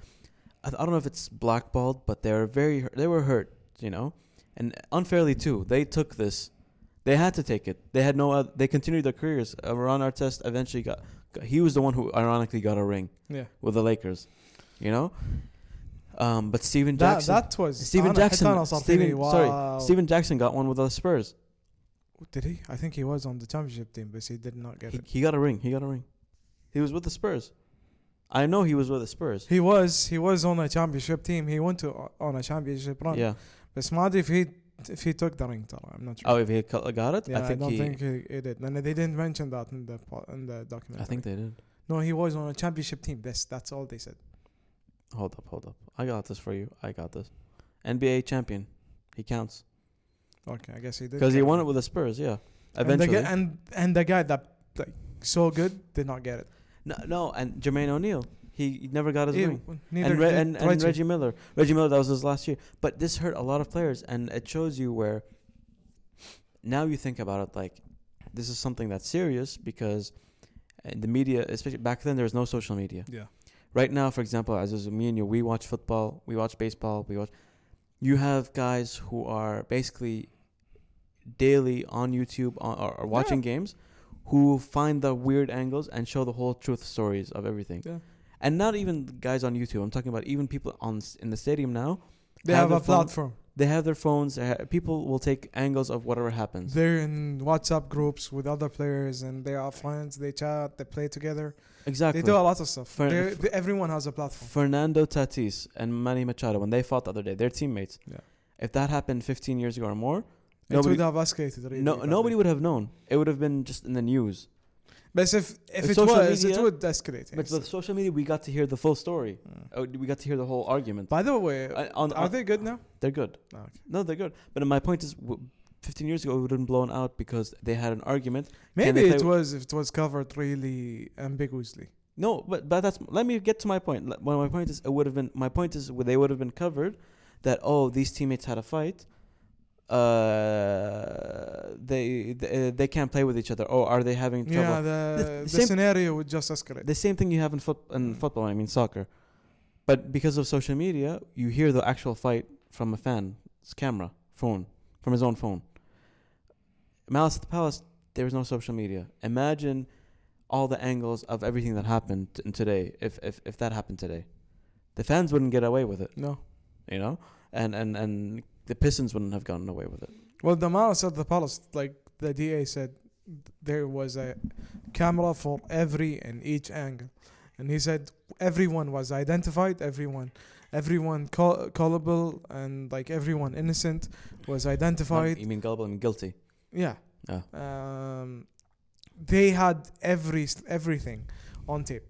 I, I don't know if it's blackballed, but they were very hurt. they were hurt, you know, and unfairly too. They took this. They had to take it. They had no. oth- they continued their careers. Uh, Ron Artest eventually got. got- He was the one who ironically got a ring Yeah. with the Lakers, you know. Um, but Steven That, Jackson, that was Steven أنا- حتى Jackson- أنا صار فيني Steven- sorry, واو. Steven Jackson got one with the Spurs. Did he? I think he was on the championship team, but he did not get He, it. he got a ring. He got a ring. He was with the Spurs. I know he was with the Spurs. He was he was on a championship team. He went to uh, on a championship run. Yeah. But ما أدري if he if he took the ring. ترى I'm not sure. Oh, if he co- got it, yeah, I I, think don't he. think he, he did. And they didn't mention that in the po- in the documentary. I think they did. no, he was on a championship team. That's that's all they said. Hold up, hold up. I got this for you. I got this. NBA champion. He counts Okay, I guess he did. because he get won it with the Spurs. Yeah. And the Eventually. guy- and and the guy that like so good did not get it. no, no, and Jermaine O'Neal. he never got his Yeah, ring. neither And, Re- did and, and Trejo. Reggie Miller. Reggie Miller, that was his last year. But this hurt a lot of players, and it shows you where now you think about it like this is something that's serious because uh, the media, especially back then, there was no social media. Yeah. Right now, for example, as is me and you, we watch football, we watch baseball, we watch. You have guys who are basically daily on YouTube on, or, or watching games who find the weird angles and show the whole truth stories of everything. Yeah. And not even the guys on YouTube. I'm talking about even people on s- in the stadium now. They have, their a phone- platform. They have their phones. they ha- People will take angles of whatever happens. They're in WhatsApp groups with other players, and they are friends. They chat. They play together. exactly. They do a lot of stuff. For- They're- they- everyone has a platform. Fernando Tatis and Manny Machado when they fought the other day, they're teammates. Yeah. If that happened 15 years ago or more, it nobody would have escalated. Really no, badly. nobody would have known. It would have been just in the news. But if if With it social was, it media- would escalate. But yes. with social media, we got to hear the full story. Mm. Uh, We got to hear the whole argument. By the way, Uh, on- are on- they good now? They're good. No, okay. No, they're good. But my point is, w- 15 years ago, we would have been blown out because they had an argument. Maybe they it play- was if it was covered really ambiguously. No, but but that's let me get to my point. Let- Well, my point is it would have been my point is would- they would have been covered that oh these teammates had a fight. Uh, they they, they can't play with each other. Oh, are they having trouble? Yeah, the, the same- scenario would just escalate. The same thing you have in foot in Mm. football. I mean soccer, but because of social media, you hear the actual fight from a fan's camera phone from his own phone. Malice at the Palace, there was no social media. Imagine all the angles of everything that happened t- today. If if if that happened today, the fans wouldn't get away with it, No. you know, and and and the Pistons wouldn't have gotten away with it. Well, the malice at the palace, like the DA said, there was a camera for every and each angle, and he said everyone was identified. Everyone, everyone call, callable, and like everyone innocent was identified. You mean gullible? I mean guilty. Yeah. Yeah. Um, they had every everything on tape,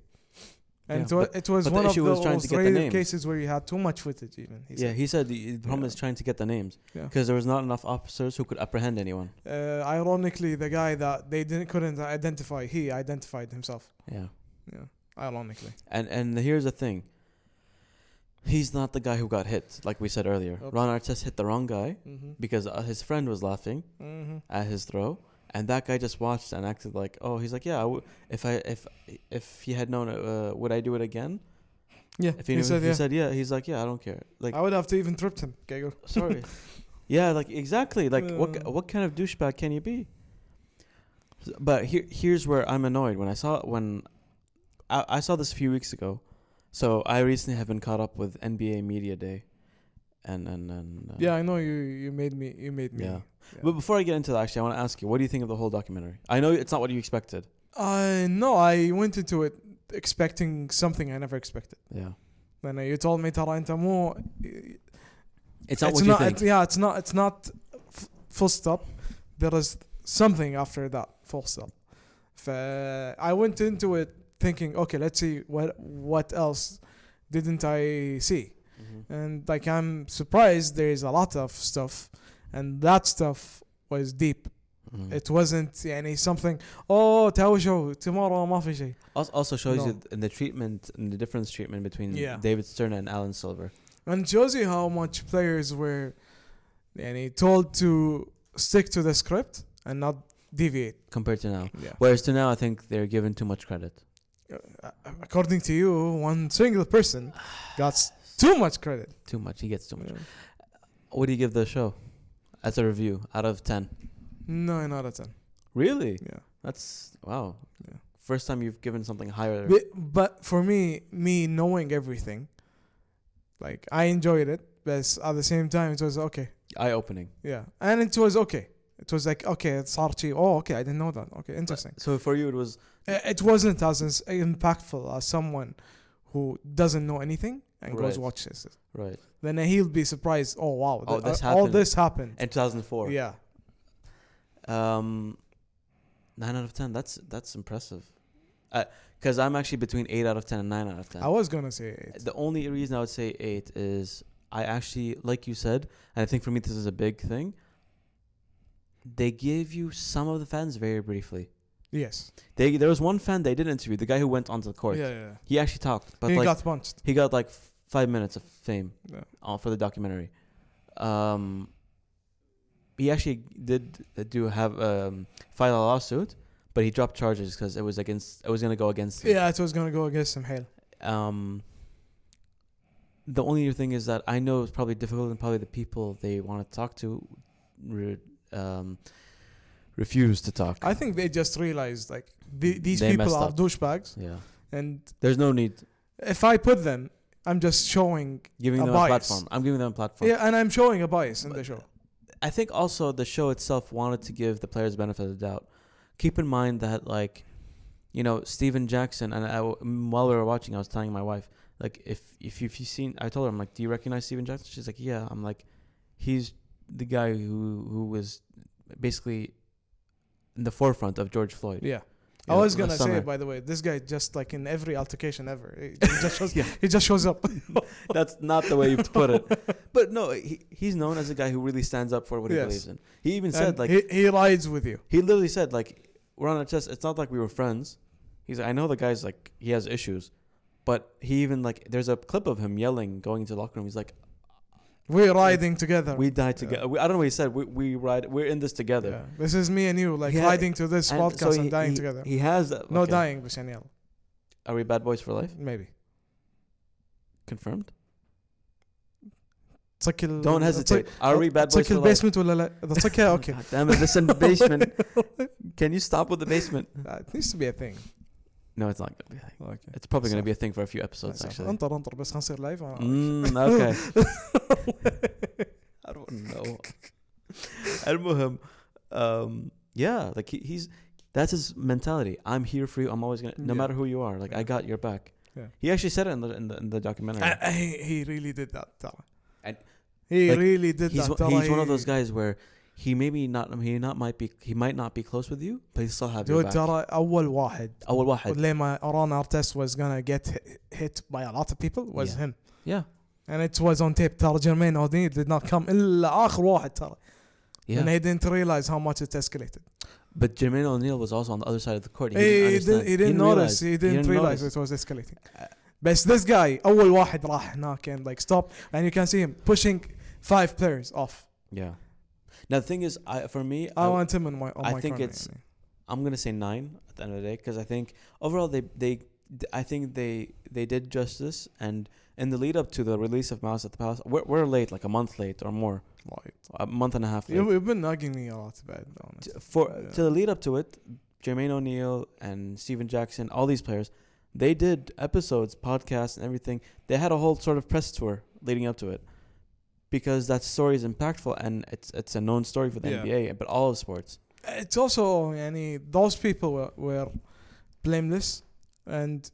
and Yeah, it, was, but- it was but the one of issue was those trying to get the rare names. cases where you had too much footage. Even he yeah, said. he said the, the problem Yeah. is trying to get the names Yeah. because there was not enough officers who could apprehend anyone. Uh, ironically, the guy that they didn't couldn't identify, he identified himself. Yeah, Yeah, ironically. and and here's the thing. He's not the guy who got hit, like we said earlier. Oops. Ron Artest hit the wrong guy Mm-hmm. because uh, his friend was laughing Mm-hmm. at his throw, and that guy just watched and acted like, "Oh, he's like, yeah, I w- if I if if he had known, uh, would I do it again?" Yeah, If he, he, knew, said, he yeah. said, "Yeah," he's like, "Yeah, I don't care." Like, I would have to even tripped him, Gagor. sorry. yeah, like exactly. Like what Uh. ki- what kind of douchebag can you be? S- But here here's where I'm annoyed when I saw when I, I saw this a few weeks ago. So I recently have been caught up with NBA Media Day, and and and uh, Yeah, I know you. You made me. You made me. Yeah. But before I get into that, actually, I want to ask you, what do you think of the whole documentary? I know it's not what you expected. I Uh, no, I went into it expecting something I never expected. Yeah, Then you told me Tara انت مو it's not what you think. it's- yeah, it's not it's not f- full stop. There is something after that full stop. ف I went into it thinking, okay, let's see what what else didn't I see. Mhm. And like I'm surprised there is a lot of stuff and that stuff was deep. Mhm. It wasn't يعني something oh تعالوا شو tomorrow ما في شيء. Als- also shows you No. th- in the treatment and the difference treatment between Yeah. David Stern and Alan Silver. and shows you how much players were and he told to stick to the script and not deviate compared to now. yeah Whereas to now, I think they're given too much credit. Uh, according to you one single person got s- too much credit Too much. He gets too much. What do you give the show as a review out of 10? nine out of ten Really? yeah That's wow. Yeah. First time you've given something higher. but, but for me me knowing everything like i enjoyed it but at the same time it was okay Eye opening. yeah and it was okay it was like okay it's archie oh okay i didn't know that okay interesting So for you, it was Uh, it wasn't as ins- impactful as someone who doesn't know anything and goes Right. watches it. right Then he'll be surprised. Oh wow! Oh, th- this uh, all happened." this happened. in 2004. Yeah, Um, nine out of 10. That's that's impressive. Because I'm actually between eight out of 10 and nine out of 10. I was gonna say it. The only reason I would say eight is I actually, like you said, and I think for me this is a big thing. They give you some of the fans very briefly. Yes. They there was one fan they did interview, the guy who went onto the court. Yeah, yeah. He actually talked, yeah. but He like got punched. he got like f- five minutes of fame Yeah. uh, for the documentary. Um, he actually did do have um, file a lawsuit, but he dropped charges because it was against. It was gonna go against. him. Yeah, it was gonna go against some hail. Um. The only thing is that I know it's probably difficult, and probably the people they want to talk to, re- um, refuse to talk. I think they just realized like the, these They people messed are up. douchebags, yeah. and There's no need if I put them, I'm just showing. giving A them a bias. platform. I'm giving them a platform. Yeah, and I'm showing a bias in But- the show. I think also the show itself wanted to give the players benefit of the doubt. Keep in mind that like, you know, Steven Jackson and I, w- while we were watching, I was telling my wife like, if if you've seen, I told her I'm like, do you recognize Steven Jackson? She's like, yeah. I'm like, he's the guy who who was basically in the forefront of George Floyd. Yeah. you I know, was last gonna say, summer. by the way, this guy just like in every altercation ever, he he just shows, Yeah. he just shows up. That's not the way you put it. But no, he, he's known as a guy who really stands up for what he Yes. believes in. He even And said like he, he rides with you. He literally said like we're on a test. It's not like we were friends. He's like, I know the guy's like he has issues, but he even like there's a clip of him yelling going into the locker room. He's like, We're riding together. we die Yeah. together. We I don't know what he said. We we ride. We're in this together. Yeah. This is me and you, like Yeah, riding to this And podcast so and he- dying he- together. He has that. no okay. dying, but Shaniel. Are we bad boys for life? Maybe. Confirmed. تسكر Don't hesitate. Are we bad boys تسكر for life? البيسمنت ولا لا؟ إذا تسكر اوكي. God damn it! Listen, basement. Can you stop with the basement? It needs to be a thing. No, it's not gonna be. a thing. Okay. It's probably gonna be So- a thing for a few episodes So, actually. انطر انطر بس خلينا نصير لايف Mm, okay. I don't know. المهم um, yeah like he, he's that's his mentality I'm here for you I'm always gonna no Yeah. matter who you are like I got your back Yeah. he actually said it in the in the, in the documentary Uh, he, he really did that ترى. And- he like, really did he's, that one- ترى. he's one of He- those guys where he maybe not he not might be he might not be close with you but he still have your dude back ترى اول واحد أول واحد لما Aran Artest was gonna get hit, hit by a lot of people was Yeah. him. yeah And it was on tape ترى Jermaine O'Neal did not come الا اخر واحد ترى. And yeah he didn't realize how much it escalated. but Jermaine O'Neal was also on the other side of the court He, he didn't, he, understand. didn't, he didn't notice. He didn't, realize notice. it was escalating. But this guy, أول واحد راح هناك and like stop and you can see him pushing five players off. yeah now the thing is I, for me I I- want him in my on Oh, I my think corner, it's- يعني. I'm gonna say nine at the end of the day because I think overall they they I think they they did justice and in the lead up to the release of Mouse at the Palace we're, we're late like a month late or more a month and a half late You- You've been nagging me a lot about it, honestly. T- for Yeah. to the lead up to it Jermaine O'Neal and Steven Jackson all these players they did episodes podcasts and everything they had a whole sort of press tour leading up to it because that story is impactful and it's it's a known story for the Yeah. NBA but all of sports It's also يعني those people were, were blameless and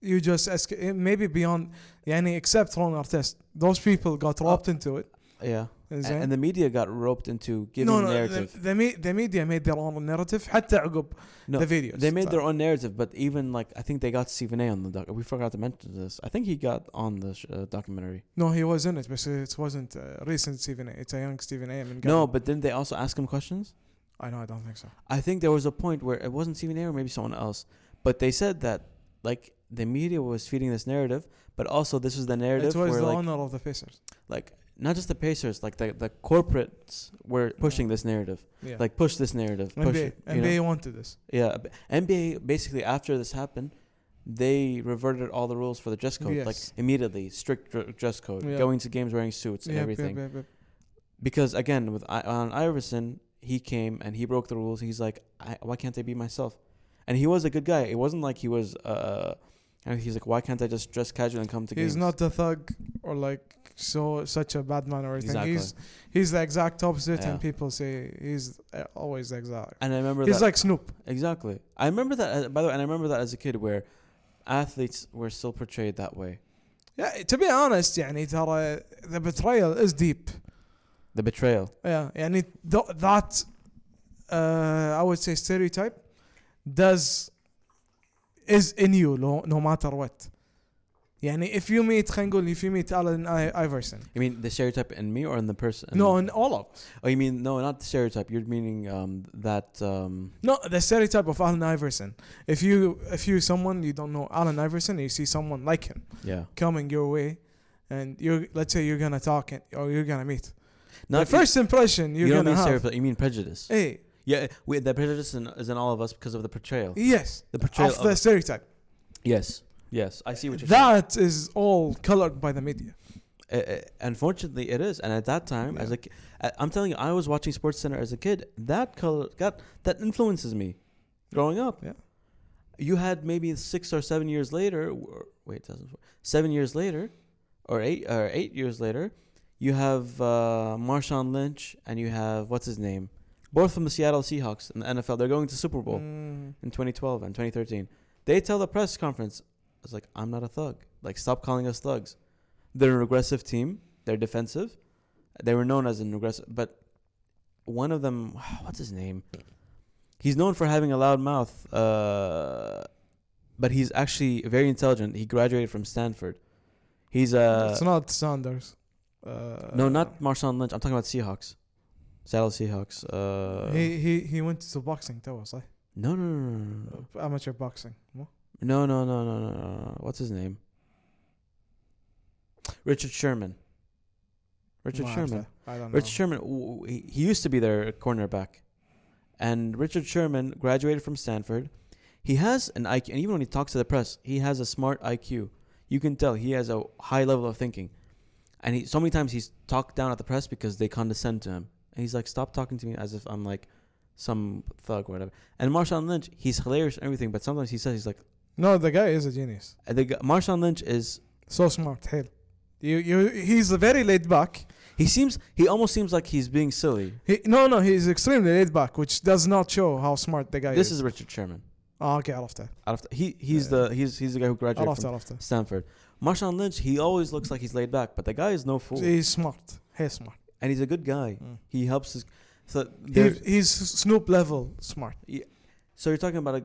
you just ask maybe beyond يعني except Ron Artest those people got roped into it yeah زين. Uh, and, and the media got roped into giving no, no, narrative The, the, me, the media made their own narrative حتى عقب No, the videos They made So- their own narrative, but even like I think they got Stephen A. on the doc. We forgot to mention this. I think he got on the sh- uh, documentary. No, he was in it, but it wasn't a recent Stephen A. It's a young Stephen A. من قبل. No, but didn't they also ask him questions? I know, I don't think so. I think there was a point where it wasn't Stephen A. or maybe someone else, but they said that like the media was feeding this narrative, but also this was the narrative It was where the like, owner of the Pacers. like not just the Pacers, like the the corporates were pushing this narrative, Yeah. like push this narrative, push NBA, it, you know? NBA wanted this. Yeah, b- NBA basically after this happened, they reverted all the rules for the dress code, like Yes. immediately strict dr- dress code, Yeah. going to games wearing suits and Yep, everything. yep, yep, yep. Because again, with I- on Iverson, he came and he broke the rules. He's like, I, why can't I be myself? And he was a good guy. It wasn't like he was. Uh, and he's like, why can't I just dress casual and come to games? He's not a thug or like so such a bad man or anything. Exactly. He's he's the exact opposite, and Yeah. people say he's uh, always the exact. and I remember He's that like Snoop. exactly. I remember that uh, by the way, and I remember that as a kid where athletes were still portrayed that way. Yeah, to be honest, يعني ترى the betrayal is deep. The betrayal. Yeah, يعني th- that uh, I would say stereotype does is in you no, no matter what. يعني if you meet خلينا نقول if you meet Allen I- Iverson You mean the stereotype in me or in the person? no in all of Oh, you mean no, not the stereotype. You're meaning um that um. no the stereotype of Allen Iverson if you if you someone you don't know Allen Iverson you see someone like him Yeah. coming your way and you let's say you're gonna talk and, or you're gonna meet Not the first impression You, you're you don't gonna mean have stereotype. You mean prejudice. hey Yeah, we, the prejudice in, is in all of us because of the portrayal. yes The portrayal. of the stereotype yes. Yes, I see what you're saying. That is all colored by the media Uh, uh, unfortunately, it is. And at that time, Yeah. as a, ki- I- I'm telling you, I was watching Sports Center as a kid. That color got that influences me, growing up. Yeah. You had maybe six or seven years later. Or, wait, doesn't seven years later, or eight or eight years later, you have uh, Marshawn Lynch and you have what's his name, both from the Seattle Seahawks in the NFL. They're going to Super Bowl. Mm. in 2012 and 2013. They tell the press conference, "It's like I'm not a thug. Like stop calling us thugs. They're a regressive team. They're defensive. They were known as an regressive, but one of them, what's his name? He's known for having a loud mouth, uh, but he's actually very intelligent. He graduated from Stanford. He's a it's not Sanders uh, Uh, no, not Marshawn Lynch. I'm talking about Seahawks, Seattle Seahawks. Uh, he he he went to boxing that was like no, no, no, no, no, no. Uh, amateur boxing no? No, no, no, no, no, no, no. What's his name? Richard Sherman. Richard ما Sherman. أعرفه. I don't know Richard Sherman. w- w- He he used to be their cornerback, and Richard Sherman graduated from Stanford. He has an IQ, and even when he talks to the press, he has a smart IQ. You can tell he has a high level of thinking, and he so many times he's talked down at the press because they condescend to him, and he's like, "Stop talking to me as if I'm like some thug or whatever." And Marshawn Lynch, he's hilarious and everything, but sometimes he says he's like. no the guy is a genius The g- Marshawn Lynch is so smart hell you you he's very laid back he seems he almost seems like he's being silly. He, no, no, he's extremely laid back, which does not show how smart the guy This is. is Richard Sherman. Ah, okay, عرفته. Out of he he's Yeah. the he's he's the guy who graduated عرفته from عرفته. Stanford. Marshawn Lynch, he always looks like he's laid back, but the guy is no fool, He's smart. He's smart. and he's a good guy. Mm. He helps his. So He, there, he's Snoop level smart. so you're talking about a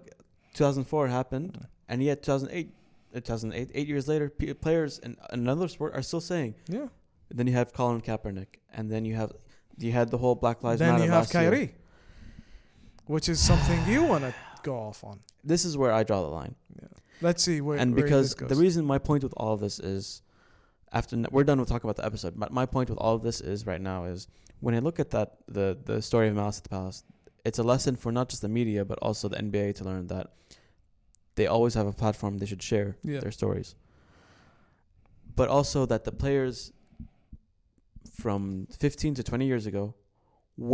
2004 happened, and yet 2008, uh, 2008, eight years later, p- players in another sport are still saying. Yeah. Then you have Colin Kaepernick, and then you have you had the whole Black Lives then Matter. you have last year. Kyrie, which is something you want to go off on. This is where I draw the line. Let's see where. and where because this goes. the reason my point with all of this is after n- we're done with talking about the episode but my point with all of this is right now is when i look at that the the story of mouse at the palace it's a lesson for not just the media but also the nba to learn that they always have a platform they should share Yeah. their stories but also that the players from 15 to 20 years ago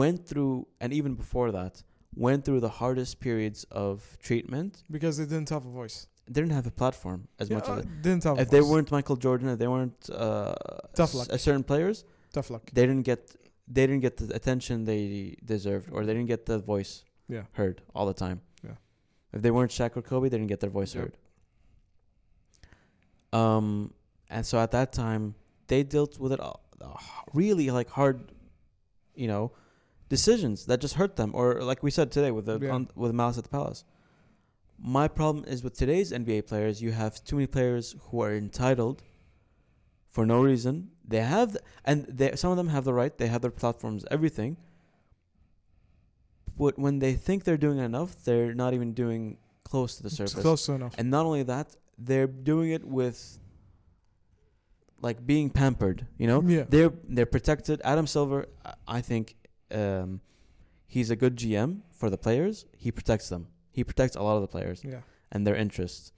went through and even before that went through the hardest periods of treatment because they didn't have a voice. they didn't have a platform as much Yeah, as uh, didn't have. if a they voice. weren't Michael Jordan, if they weren't uh, Tough s- luck. uh, certain players, tough luck. they didn't get they didn't get the attention they deserved, or they didn't get the voice Yeah. heard all the time. Yeah. If they weren't Shaq or Kobe, they didn't get their voice Yep. heard. Um, and so at that time, they dealt with it all, uh, really like hard, you know, decisions that just hurt them, or like we said today with the Yeah. on, with Malice at the Palace. My problem is with today's NBA players, you have too many players who are entitled for no reason. They have, th- and they, some of them have the right, they have their platforms, everything. But when they think they're doing enough, they're not even doing close to the It's surface. close to enough. And not only that, they're doing it with like being pampered, you know? Yeah. They're they're protected. Adam Silver, I- I think um, he's a good GM for the players. He protects them. He protects a lot of the players Yeah. and their interests.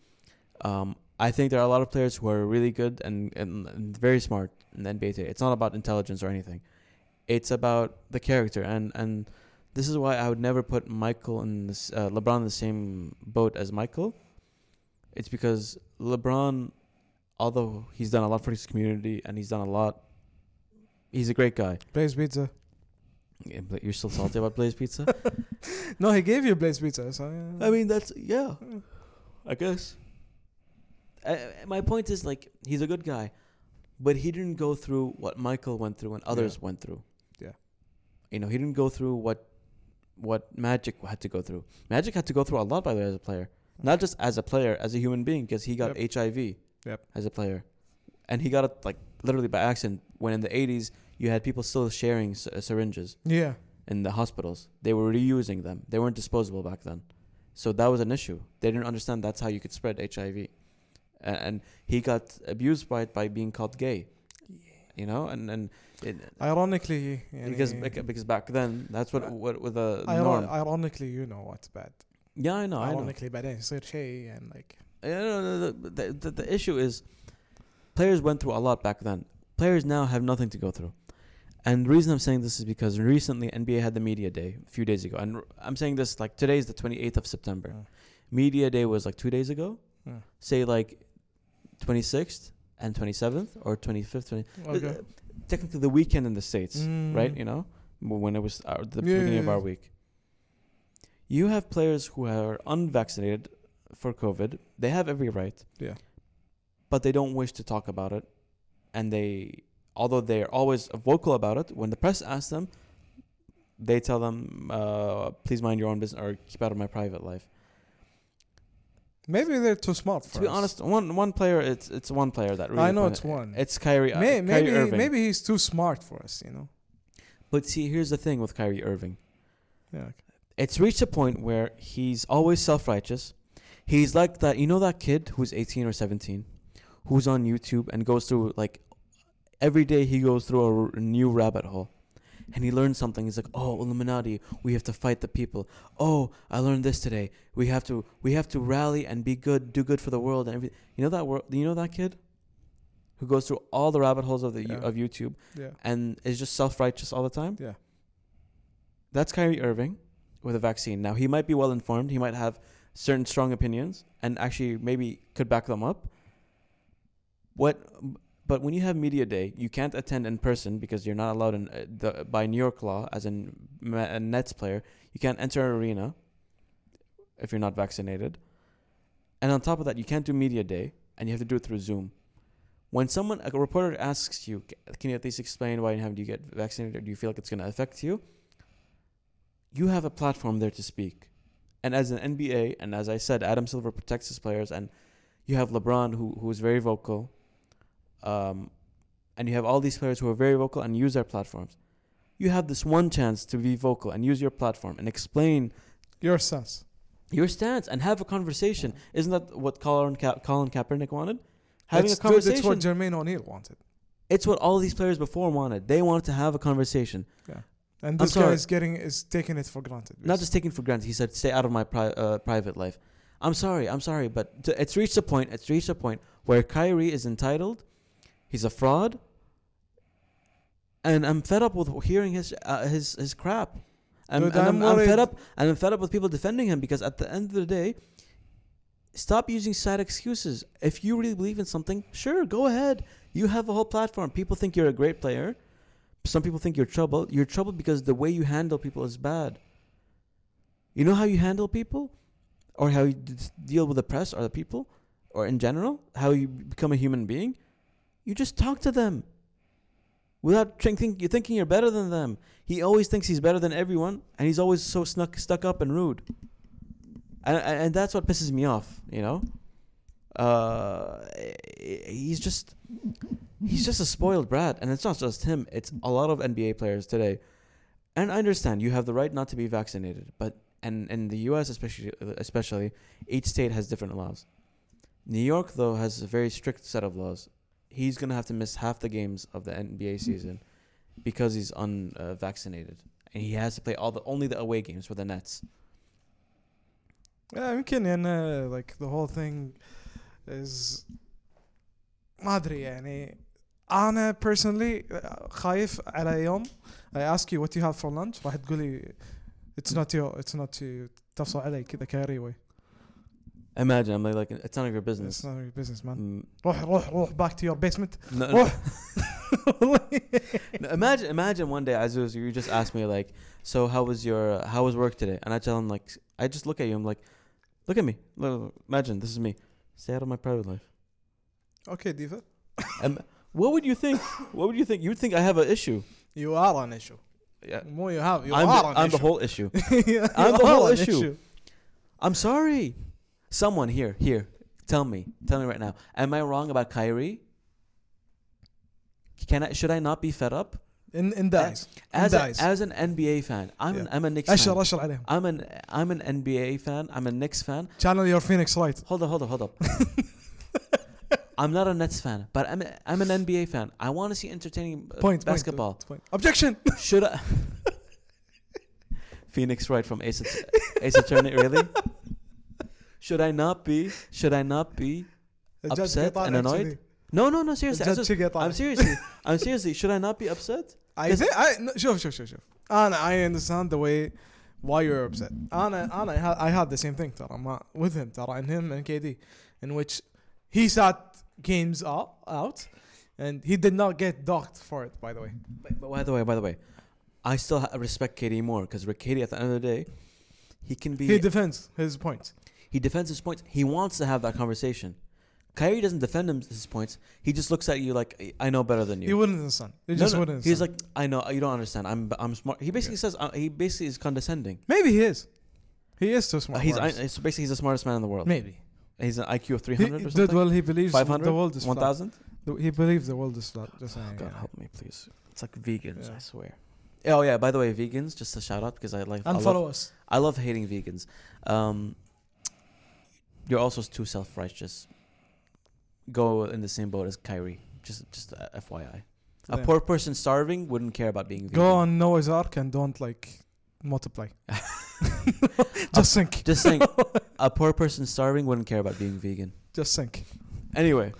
Um, I think there are a lot of players who are really good and, and, and very smart in the NBA today. It's not about intelligence or anything. It's about the character and and this is why I would never put Michael and this, uh, LeBron in the same boat as Michael. It's because LeBron, although he's done a lot for his community and he's done a lot, he's a great guy. Blaze pizza. Yeah, but You're still salty about Blaze Pizza. No, he gave you Blaze pizza. So, yeah. I mean, that's yeah. I guess. Uh, my point is like he's a good guy, but he didn't go through what Michael went through and others went through. Yeah. You know, he didn't go through what what Magic had to go through. Magic had to go through a lot by the way as a player, not just as a player, as a human being, because he got HIV Yep. as a player, and he got it like literally by accident. When in the '80s, you had people still sharing s- uh, syringes Yeah. in the hospitals. They were reusing them. They weren't disposable back then, so that was an issue. They didn't understand that's how you could spread HIV, and, and he got abused by it by being called gay. You know, and and it, Ironically, يعني because beca- because back then that's what what with the Iron- norm. ironically, you know what's bad. Yeah, I know. I know. ironically, بعدين يصير شيء and like Yeah, no, no, the, the, the, the issue is players went through a lot back then. Players now have nothing to go through. And the reason I'm saying this is because recently NBA had the media day a few days ago. And r- I'm saying this like today is the 28th of September. Mm. Media day was like two days ago. Mm. Say like 26th and 27th or 25th. 20, okay. uh, technically the weekend in the States, right? Mm. You know, w- when it was our, the Yeah, beginning of yeah, our yeah. week. You have players who are unvaccinated for COVID. They have every right. Yeah. But they don't wish to talk about it. And they, although they are always vocal about it, when the press asks them, they tell them, uh, please mind your own business or keep out of my private life. Maybe they're too smart. For To be us. honest, one one player, it's it's one player that really. I know pointed- it's one. It's Kyrie, uh, May, Kyrie maybe Irving. maybe he's too smart for us. You know. But see, here's the thing with Kyrie Irving. Yeah. okay. it's reached a point where he's always self-righteous. He's like that, you know, that kid who's 18 or 17, who's on YouTube and goes through like every day he goes through a r- new rabbit hole, and he learns something. He's like, oh, Illuminati, we have to fight the people. Oh, I learned this today. We have to, we have to rally and be good, do good for the world and everything. You know that world, you know that kid, who goes through all the rabbit holes of the Yeah. of YouTube Yeah. and is just self righteous all the time. Yeah. That's Kyrie Irving with a vaccine. Now he might be well informed. He might have certain strong opinions and actually maybe could back them up. What? But when you have media day, you can't attend in person because you're not allowed in uh, the, by New York law as an, a Nets player. You can't enter an arena if you're not vaccinated. And on top of that, you can't do media day and you have to do it through Zoom. When someone, a reporter asks you, "C- can you at least explain why you haven't you get vaccinated or do you feel like it's going to affect you? You have a platform there to speak. And as an NBA, and as I said, Adam Silver protects his players, and you have LeBron, who, who is very vocal, um, and you have all these players who are very vocal and use their platforms. You have this one chance to be vocal and use your platform and explain Your sons. your stance and have a conversation. Isn't that what Colin, Ka- Colin Kaepernick wanted? Having That's- a dude, that's conversation. what Jermaine O'Neal wanted, it's what all these players before wanted. They wanted to have a conversation, and this guy sorry. is getting is taking it for granted. not just taking for granted. He said, "Stay out of my pri- uh, private life." I'm sorry, I'm sorry, but t- it's reached a point. It's reached a point where Kyrie is entitled. He's a fraud, and I'm fed up with hearing his uh, his his crap. I'm, Dude, and I'm I'm, I'm worried. fed up. And I'm fed up with people defending him because at the end of the day, stop using side excuses. If you really believe in something, sure, go ahead. You have a whole platform. People think you're a great player. Some people think you're troubled. You're troubled because the way you handle people is bad. You know how you handle people, or how you d- deal with the press or the people, or in general, how you become a human being. You just talk to them. Without think, think, you're thinking you're better than them. He always thinks he's better than everyone, and he's always so snuck, stuck up and rude. And, and and that's what pisses me off, you know. Uh, he's just he's just a spoiled brat, and it's not just him; it's a lot of NBA players today. And I understand you have the right not to be vaccinated, but and in the U.S. especially, especially each state has different laws. New York though has a very strict set of laws. He's gonna have to miss half the games of the NBA season because he's unvaccinated, and he has to play all the only the away games for the Nets. Yeah, يمكن يعني uh, like the whole thing is ما ادري يعني انا personally خايف على يوم I ask you what you have for lunch راح تقول لي it's not your it's not you تفصل علي كذا carry away Imagine I'm like, like it's none of your business. it's not your business man Mm, روح روح روح back to your basement No, no, روح no, imagine imagine one day Azuz, you just ask me like, so how was your how was work today? And I tell him like, I just look at you. I'm like, look at me. Look, look, imagine this is me. Stay out of my private life. okay ديفا Um, what would you think? What would you think? You would think I have an issue. you are an issue Yeah. مو you have you I'm, are the, an I'm the issue whole issue. You I'm the are whole an issue. I'm sorry. Someone here, here, Tell me, tell me right now. Am I wrong about Kyrie? Can I should I not be fed up in in dies as a, Guys. as an NBA fan? I'm an, Yeah. I'm a Knicks اشر fan. اشر عليهم I'm an I'm an NBA fan. I'm a Knicks fan. channel your Phoenix light Hold up, hold up, hold up. I'm not a Nets fan, but I'm a, I'm an NBA fan. I want to see entertaining uh, point basketball. point, point. objection Should I? Phoenix Wright from Ace, Att- Ace Attorney, really? Should I not be? Should I not be? الجاج Upset قطع and نفسه annoyed? ذي. No, no, no. Seriously, I الجاج شي قطع am seriously, I'm seriously. Should I not be upset? I think I no, شوف شوف شوف شوف انا I understand the way why you're upset انا انا I had, I had the same thing ترى ما with him ترى and him and KD in which he sat games out, out and he did not get docked for it by the way But, but by the way, by the way, I still ha- respect Katie more because Katie, at the end of the day, he can be. he defends his point He defends his points. He wants to have that conversation. Kyrie doesn't defend him, his points. He just looks at you like I I know better than he you. wouldn't understand he No, just no, wouldn't He's understand. like I know you don't understand. I'm I'm smart. He basically says uh, he basically is condescending. maybe he is he is too Uh, smart he's for I, us. so basically he's the smartest man in the world. maybe He's an IQ of he, 300 or did something. well he believes 500? the world is One flat thousand. The- he believes the world is flat just saying God help me, please. It's like vegans. Yeah. I swear. Oh yeah. By the way, vegans. Just a shout out because I like I love- unfollow us I love hating vegans. Um, you're also too self-righteous. Go in the same boat as Kyrie. Just, just uh, a FYI. A Yeah. poor person starving wouldn't care about being vegan. Go on Noah's Ark and don't like multiply. just sink. Just saying, a poor person starving wouldn't care about being vegan. Just sink. Anyway,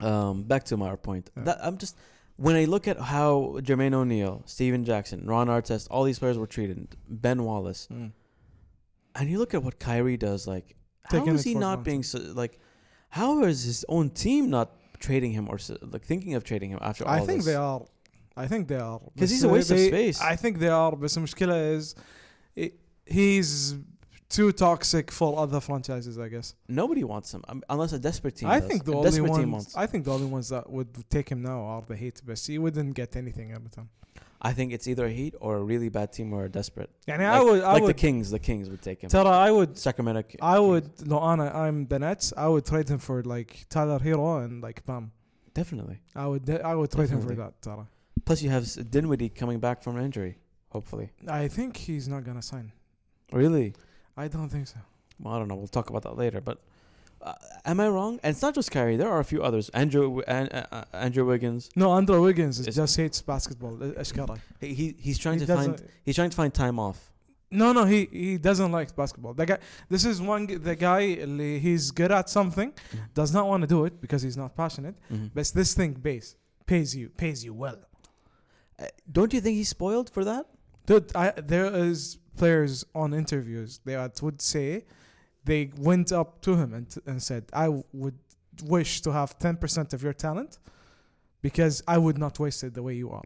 um, back to my point. Yeah. That, I'm just when I look at how Jermaine O'Neal, Steven Jackson, Ron Artest, all these players were treated, Ben Wallace, and you look at what Kyrie does, like how Taking is it he for not granted. being so, like? How is his own team not trading him or s- like thinking of trading him after all I think this? they are. I think they are. 'Cause he's a بس waste of they- space. I think they are. But the مشكلة is i- he's too toxic for other franchises. I guess. Nobody wants him um, unless a desperate team. I does. think the a only desperate team ones. wants. I think the only ones that would take him now are the Heat. But he wouldn't get anything out of them. I think it's either a Heat or a really bad team or a desperate. يعني I would. I like the would. Kings, the Kings would take him. ترى I would Sacramento. Ki- I Kings. would no Anna, I'm the Nets, I would trade him for like Tyler Hero and like Bam. definitely. I would de- I would trade him for Definitely. that, Tara. Plus, you have S- Dinwiddie coming back from injury. Hopefully, I think he's not gonna sign. really. I don't think so. Well, I don't know. We'll talk about that later. But uh, am I wrong? And it's not just Kyrie. There are a few others. Andrew, and, uh, uh, Andrew Wiggins. No, Andrew Wiggins is Is- just hates basketball. Ashkara. He, he he's trying He to doesn't. find he's trying to find time off. No, no, he he doesn't like basketball. The guy, this is one g- the guy. اللي He's good at something, Mhm. does not want to do it because he's not passionate. But this thing pays pays you pays you well. Uh, don't you think he's spoiled for that? Dude, I, there is players on interviews that would say they went up to him and, and said, I would wish to have 10% of your talent because I would not waste it the way you are.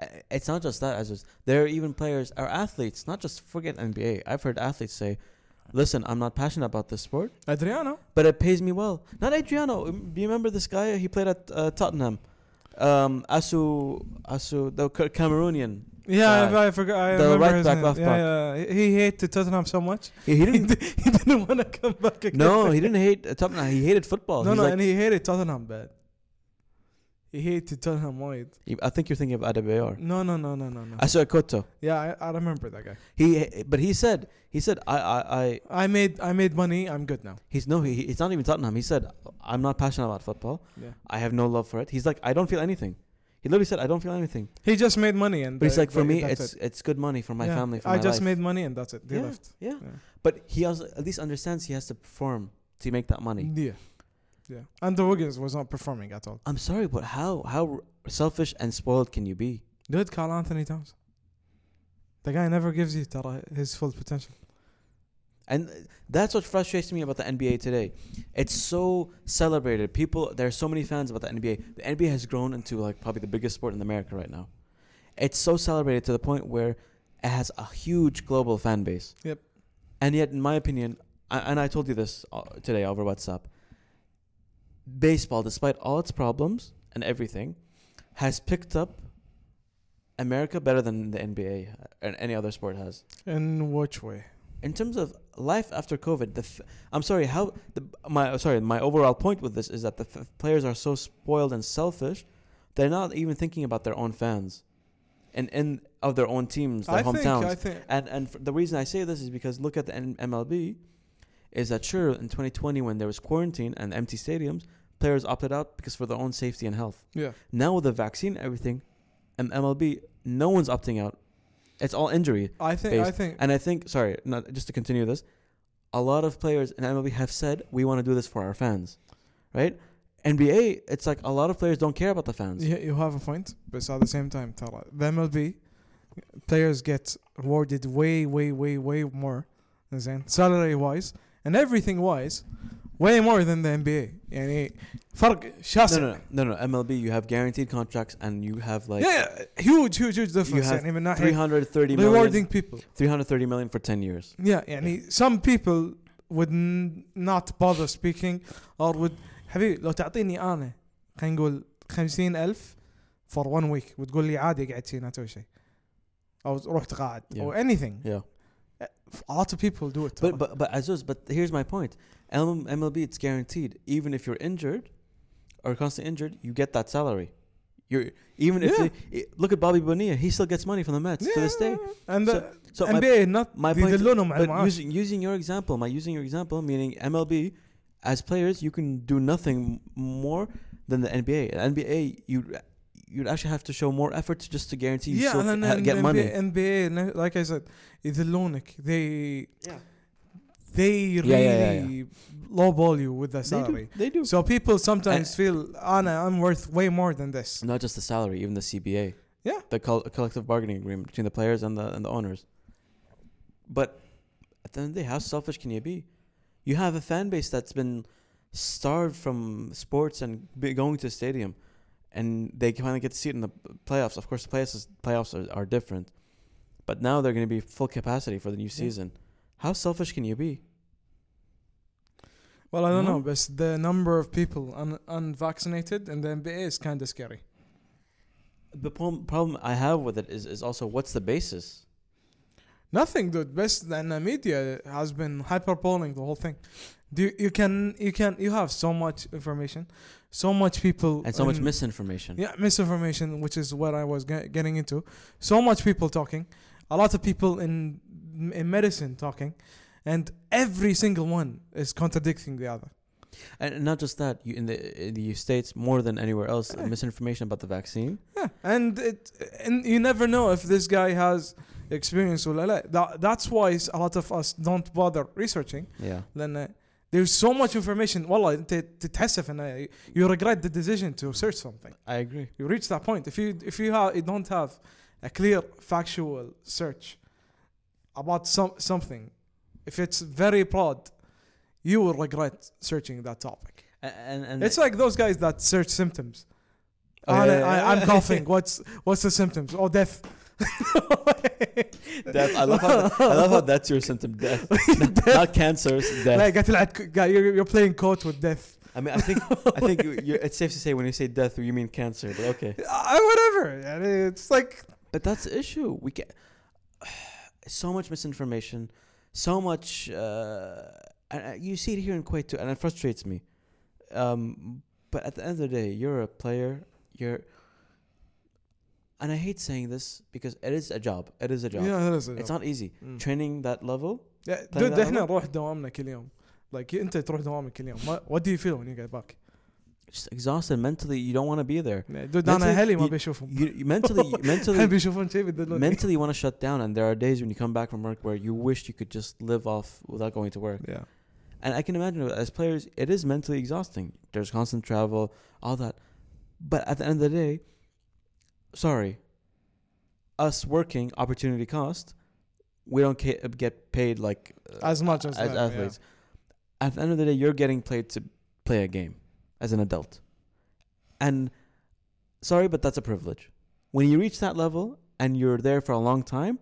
Uh, It's not just that. As there are even players or athletes, not just forget NBA. I've heard athletes say, "Listen, I'm not passionate about this sport, Adriano, but it pays me well." Not Adriano. Um, Do you remember this guy? He played at uh, Tottenham. Um, Asu Asu, the Ca- Cameroonian. yeah, Uh, I, I forgot. I the remember right his back, name. left yeah, yeah. He- He hated Tottenham so much. He, he He, didn't. di- he didn't want to come back again. no, he didn't hate uh, Tottenham. He hated football. no, He's no, like- and he hated Tottenham bad. He hated Tottenham wide. I think you're thinking of Adebayor. No, no, no, no, no, no. Asu Ekoto. Yeah, I, I remember that guy. He, but he said, he said, I, I, I I made I made money. I'm good now. He's no, he, he- it's not even Tottenham. He said, "I'm not passionate about football. Yeah. I have no love for it." He's like, "I don't feel anything." He literally said, "I don't feel anything." He just made money and But he's they- like, "For they- me, that's it's it. it's good money for my Yeah. family, for I my just life." made money and that's it. They left. yeah. Yeah. But he also at least understands he has to perform to make that money. Yeah. Yeah. And the Wiggins was not performing at all. I'm sorry, but how how selfish and spoiled can you be? Dude, Carl Anthony Towns. The guy never gives you ترى his full potential. And that's what frustrates me about the NBA today. It's so celebrated. People, there are so many fans about the NBA. The NBA has grown into like probably the biggest sport in America right now. It's so celebrated to the point where it has a huge global fan base. Yep. And yet, in my opinion, I, and I told you this uh, today over WhatsApp, baseball, despite all its problems and everything, has picked up America better than the NBA and any uh, other sport has In which way? in terms of life after COVID. The f- I'm sorry. How the my sorry. My overall point with this is that the f- players are so spoiled and selfish. They're not even thinking about their own fans, and and of their own teams, their I think hometowns. I think And and f- the reason I say this is because look at the N- MLB, is that sure in 2020 when there was quarantine and empty stadiums, players opted out because for their own safety and health. yeah. Now with the vaccine, and everything, and MLB, no one's opting out. It's all injury. I think I based- think And I think sorry, not, just to continue this, a lot of players in MLB have said we want to do this for our fans, right? NBA, it's like a lot of players don't care about the fans. Yeah, you have a point, but at the same time, ترى the MLB players get rewarded way, way, way, way more, زين salary wise and everything wise, way more than the NBA. يعني فرق No, شاسع. no, no, no, no. MLB, you have guaranteed contracts and you have like yeah, yeah, huge, huge, huge difference. have يعني من ناحية 330 million. rewarding people. 330 million for 10 years. Yeah, يعني some people would n- not bother speaking or would حبيبي لو تعطيني انا خلينا نقول 50000 for one week وتقول لي عادي اقعد هنا اسوي شيء او روح تقاعد Yeah. او anything Yeah. a lot of people do it But but but Azuz, but here's my point. M- MLB it's guaranteed. Even if you're injured or constantly injured, you get that salary. You're even if Yeah. they, i- look at Bobby Bonilla, he still gets money from the Mets to this day. and the So my, NBA not my point is- يدلونهم على but المعاش using, using your example, my using your example, meaning MLB, as players, you can do nothing more than the NBA. The NBA, you you'd actually have to show more effort to just to guarantee you yeah still and then ha- and get NBA, money. NBA like I said يدلونك they they really Yeah, yeah, yeah, lowball you with the They salary do. They do. So people sometimes feel, Anna, I'm worth way more than this. not just the salary, even the CBA. Yeah. The col- collective bargaining agreement between the players and the and the owners. But at the end of the day, how selfish can you be? You have a fan base that's been starved from sports and be going to the stadium, and they finally get to see it in the playoffs. Of course, the playoffs is, playoffs are, are different, but now they're going to be full capacity for the new season. How selfish can you be? Well, I don't No. know, but the number of people un- unvaccinated in the NBA is kind of scary. The problem, problem I have with it is is also what's the basis? Nothing, dude. Best and the media has been hyperboling the whole thing. Do you, you can you can you have so much information, so much people And so much in- misinformation. Yeah, misinformation, which is what I was ge- getting into. So much people talking, a lot of people in in medicine talking, and every single one is contradicting the other. And not just that, you, in the in the states more than anywhere else, Yeah. misinformation about the vaccine. Yeah, and it and you never know if this guy has experience or not. That, that's why s- a lot of us don't bother researching. Yeah, Then uh, there's so much information. uh, Wallah, انت تتحسف and you regret the decision to search something. I agree. You reach that point. If you if you, ha- you don't have a clear factual search about some something, if it's very broad, you will regret searching that topic. And and, and It's like those guys that search symptoms. Oh, I, yeah, yeah, I, yeah. I'm coughing. What's what's the symptoms? Oh, death. death. I love how that, I love how that's your symptom. Death, not, not cancer. it's Death. لا قاعد تلعب قاعد- you're, you're playing court with death. I mean, I think I think you- you're, it's safe to say when you say death, you mean cancer. But okay. I, Uh, whatever. And It's like But that's the issue. We get so much misinformation, so much. Uh, and uh, you see it here in Kuwait too, and it frustrates me. Um, but at the end of the day, you're a player. You're, and I hate saying this because it is a job. It is a job. yeah, that is a It's job. not easy. Mm. Training that level. Yeah, طيب، dude لا، احنا لا. نروح دوامنا كل يوم. Like انت تروح دوامك كل يوم. What- What do you feel when you get back? Just exhausted mentally. You don't want to be there. Yeah, dude Mentally, انا اهلي ما you- بيشوفهم. You, you mentally, mentally, اهلي بيشوفون شيء بيدلوني. mentally want to shut down. And there are days when you come back from work where you wish you could just live off without going to work. Yeah. And I can imagine as players, it is mentally exhausting. There's constant travel, all that. But at the end of the day, sorry, us working opportunity cost, we don't ca- get paid like uh, As much as them, yeah. athletes. At the end of the day, you're getting paid to play a game as an adult, and sorry, but that's a privilege. When you reach that level and you're there for a long time,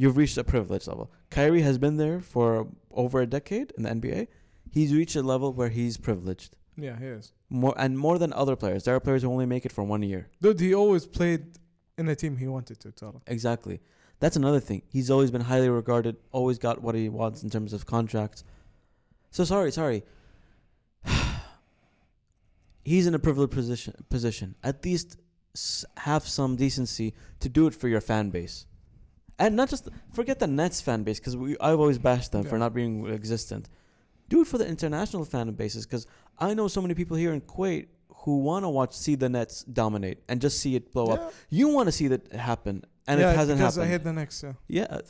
you've reached a privilege level. Kyrie has been there for over a decade in the NBA. He's reached a level where he's privileged Yeah, he is. more and more than other players. There are players who only make it for one year. Dude, he always played in a team he wanted to ترى. Exactly. That's another thing. He's always been highly regarded, always got what he wants in terms of contracts. So sorry, sorry. He's in a privileged position. Position at least s- have some decency to do it for your fan base, and not just forget the Nets fan base because I've always bashed them for Yeah. not being existent. Do it for the international fan bases because I know so many people here in Kuwait who want to watch see the Nets dominate and just see it blow up. You want to see that happen, Oh, and Yeah, it hasn't because happened. I hit the Knicks. Yeah. yeah, uh,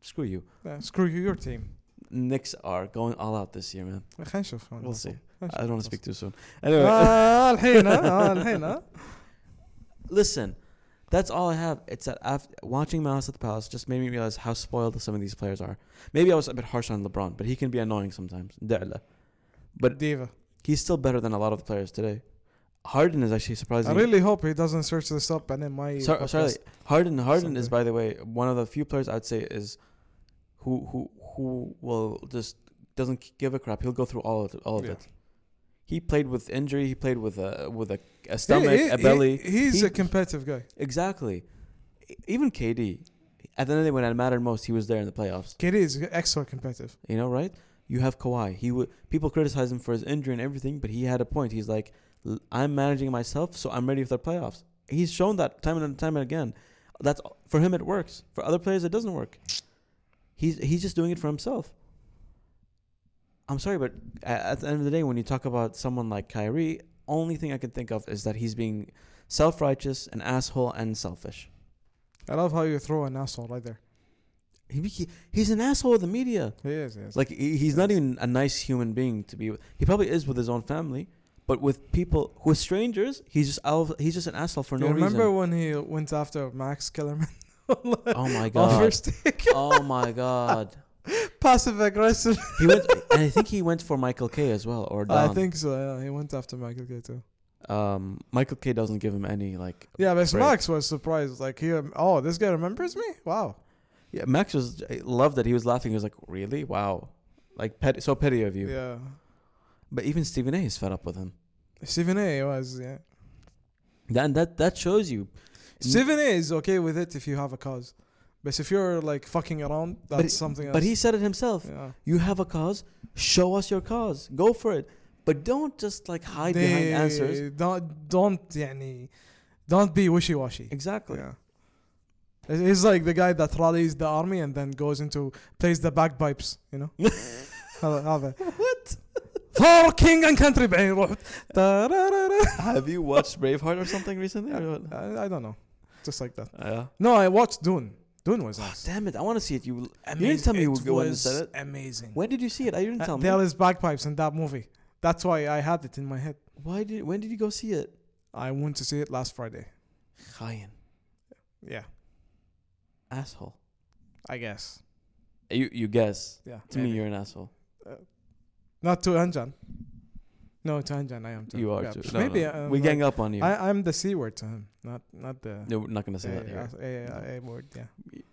screw you. yeah. Screw you, your team. Knicks are going all out this year, man. خلينا نشوف We'll see. Actually, I don't want to speak too soon. Anyway, آه، الحين آه، الحين آه. listen, that's all I have. It's that after watching Malice at the Palace just made me realize how spoiled some of these players are. Maybe I was a bit harsh on LeBron, but he can be annoying sometimes. دعلة. But Diva. he's still better than a lot of the players today. Harden is actually I surprising. really hope he doesn't search this up and then my Sorry, sorry. podcast- Harden. Harden is, Someday. by the way, one of the few players I'd say is who who who will just doesn't c- give a crap. He'll go through all of it, all of Yeah. it. He played with injury. He played with a with a, a He- stomach, he- a belly. he- he's He- a competitive guy. exactly. E- Even KD, at the end of the day, when it mattered most, he was there in the playoffs. Kid is extra competitive. You know, right? You have Kawhi. He would people criticize him for his injury and everything, but he had a point. He's like, "L- I'm managing myself, so I'm ready for the playoffs. He's shown that time and time and again. That's for him. It works. For other players, it doesn't work. He's he's just doing it for himself. I'm sorry, but a- at the end of the day, when you talk about someone like Kyrie, only thing I can think of is that he's being self-righteous, an asshole, and selfish. I love how you throw an asshole right there. He, he he's an asshole of the media. He is. He is. Like he- he's not even a nice human being to be with. He probably is with his own family, but with people with strangers, he's just al- he's just an asshole for Do no you remember reason. when he went after Max Kellerman? Oh my On god! first take, oh my god! passive aggressive. He went, and I think he went for Michael K as well, or Don. I think so. Yeah, he went after Michael K too. um, Michael K doesn't give him any like. Yeah, but Right. Max was surprised. Like he, oh, this guy remembers me. Wow. Yeah, Max was I loved that he was laughing. He was like, "Really? Wow!" Like pet, so petty of you. Yeah. But even Stephen A. is fed up with him. Stephen A was yeah. And that that shows you. Mm. Stephen A is okay with it if you have a cause, but if you're like fucking around, that's he- something else. But he said it himself. yeah. You have a cause, show us your cause. Go for it. But don't just like hide behind They- answers. Don't don't يعني, don't be wishy washy. Exactly. Yeah. It- It's like the guy that rallies the army and then goes into plays the bagpipes, you know. هذا هذا. What? For king and country بعدين يروح تارارارا. Have you watched Braveheart or something recently? or what? I, I don't know, just like that. Yeah. No, I watched Dune. Dune was Oh, nice. damn it. I want to see it. You, you didn't tell me you would go and said it. Amazing. When did you see it? I didn't Uh, tell me. there is bagpipes in that movie. That's why I had it in my head. Why did? When did you go see it? I went to see it last Friday. Chayan. Yeah, Asshole. I guess. You, you guess. Yeah. To me, maybe. you're an asshole. not to Anjan. No, to Anjan, I am too. You are Yeah, too. psh, No, Maybe no. uh, we like, gang up on you. I, I'm the c word to him, not not the no, we're not gonna say a, that here. a- a- a word. Yeah,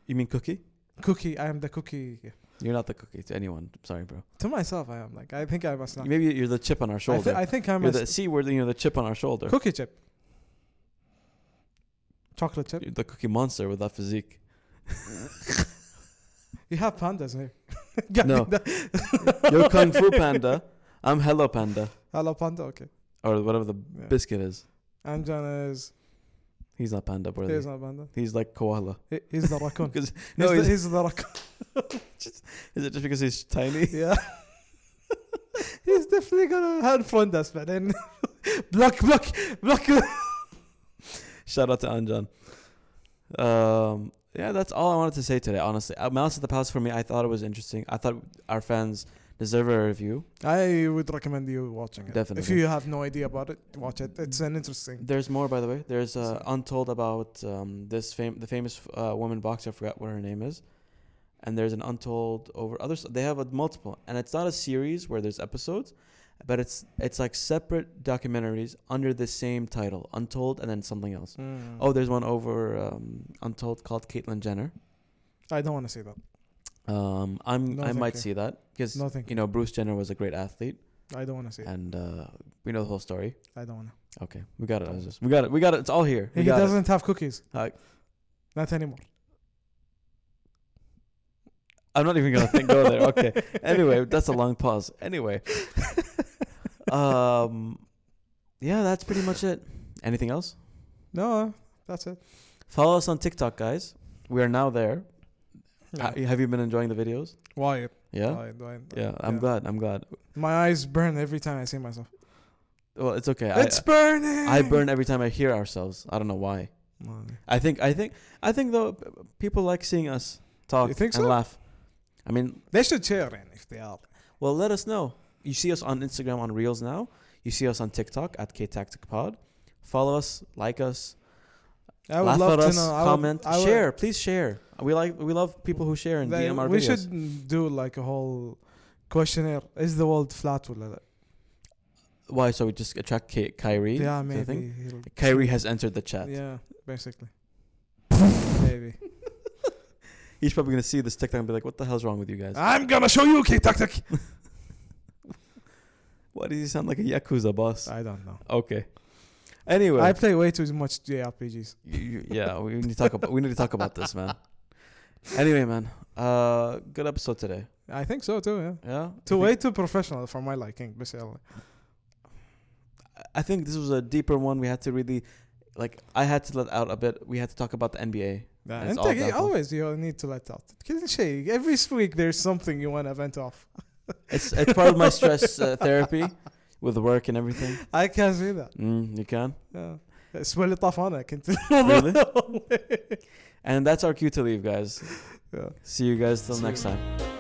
You mean cookie? cookie. I am the cookie yeah. You're not the cookie to anyone. Sorry, bro. to myself. I am like I think I must not. Maybe you're the chip on our I, shoulder. thi- I think I'm you're a the c word. You're the chip on our shoulder. cookie chip, chocolate chip. You're the cookie monster with that physique. You have pandas here. No. You're Kung Fu Panda. I'm Hello Panda. Hello panda. Okay. Or whatever the Yeah. biscuit is. Anjan is He's not Panda, brother. he's He's, not panda. like Koala. He- He's the raccoon. 'Cause- no, no, he's, he's, the, he's the raccoon. is it just because he's tiny? Yeah. he's definitely gonna hand front us, but then block, block, block. Shout out to Anjan. Um, yeah, that's all I wanted to say today, honestly. Uh, Mouse at the Palace for me, I thought it was interesting. I thought our fans deserve a review. I would recommend you watching it. If Definitely. you have no idea about it, watch it. It's an interesting. There's more, by the way. There's uh, Untold about um, this fam- the famous uh, woman boxer. I forgot what her name is. And there's an Untold over others. They have a multiple, and it's not a series where there's episodes, but it's it's like separate documentaries under the same title, Untold, and then something else. Hmm. Oh, there's one over um, Untold called Caitlyn Jenner. I don't want to say that. Um, I'm No, I thank might you. see that because No, thank you know Bruce Jenner was a great athlete, I don't want to say it. and uh, we know the whole story. I don't want to. Okay, we got it. I was just- we got it. We got it. It's all here. We He got it. doesn't have cookies. Like- Not anymore. I'm not even gonna think go there. Okay. Anyway, that's a long pause. Anyway, um, yeah, that's pretty much it. Anything else? No, that's it. Follow us on TikTok, guys. We are now there. Yeah. Oh, Ha- Have you been enjoying the videos? Wyatt, Uh, Yeah. Wyatt, Wyatt, yeah, I'm glad. I'm glad. My eyes burn every time I see myself. Well, it's okay. it's burning. I, I burn every time I hear ourselves. I don't know why. Man. I think. I think. I think though, p- people like seeing us talk You think and so? laugh. I mean, They should share man, if they are. Well, let us know. You see us on Instagram on Reels now. You see us on TikTok at KTacticPod. Follow us, like us, I would laugh love at to us, know. I would- comment, I would- share. Please share. We like we love people who share and They- DM our we videos. should do like a whole questionnaire. Is the world flat or not? Why? So we just attract Ki- Kyrie. Yeah, Do you think? maybe. he'll- Kyrie has entered the chat. Yeah, basically. maybe. He's probably gonna see this TikTok and be like, "What the hell's wrong with you guys? I'm gonna show you, K Tactic. Why does he sound like a yakuza boss?" I don't know. okay. Anyway, I play way too much JRPGs. You- you- yeah, we need to talk about we need to talk about this, man. Anyway, man, uh, good episode today. I think so too. Yeah. Yeah, Too I think- way too professional for my liking, basically. I think this was a deeper one. We had to really, like, I had to let out a bit. We had to talk about the NBA. Yeah, It's and all take- downfall. always you need to let out. Because, Shay, Every week there's something you want to vent off. It's it's part of my stress uh, therapy with work and everything. I can't see that. Mm, you can, Yeah. It's really tough on it. Really? and that's our cue to leave, guys. Yeah. See you guys till See next you. time.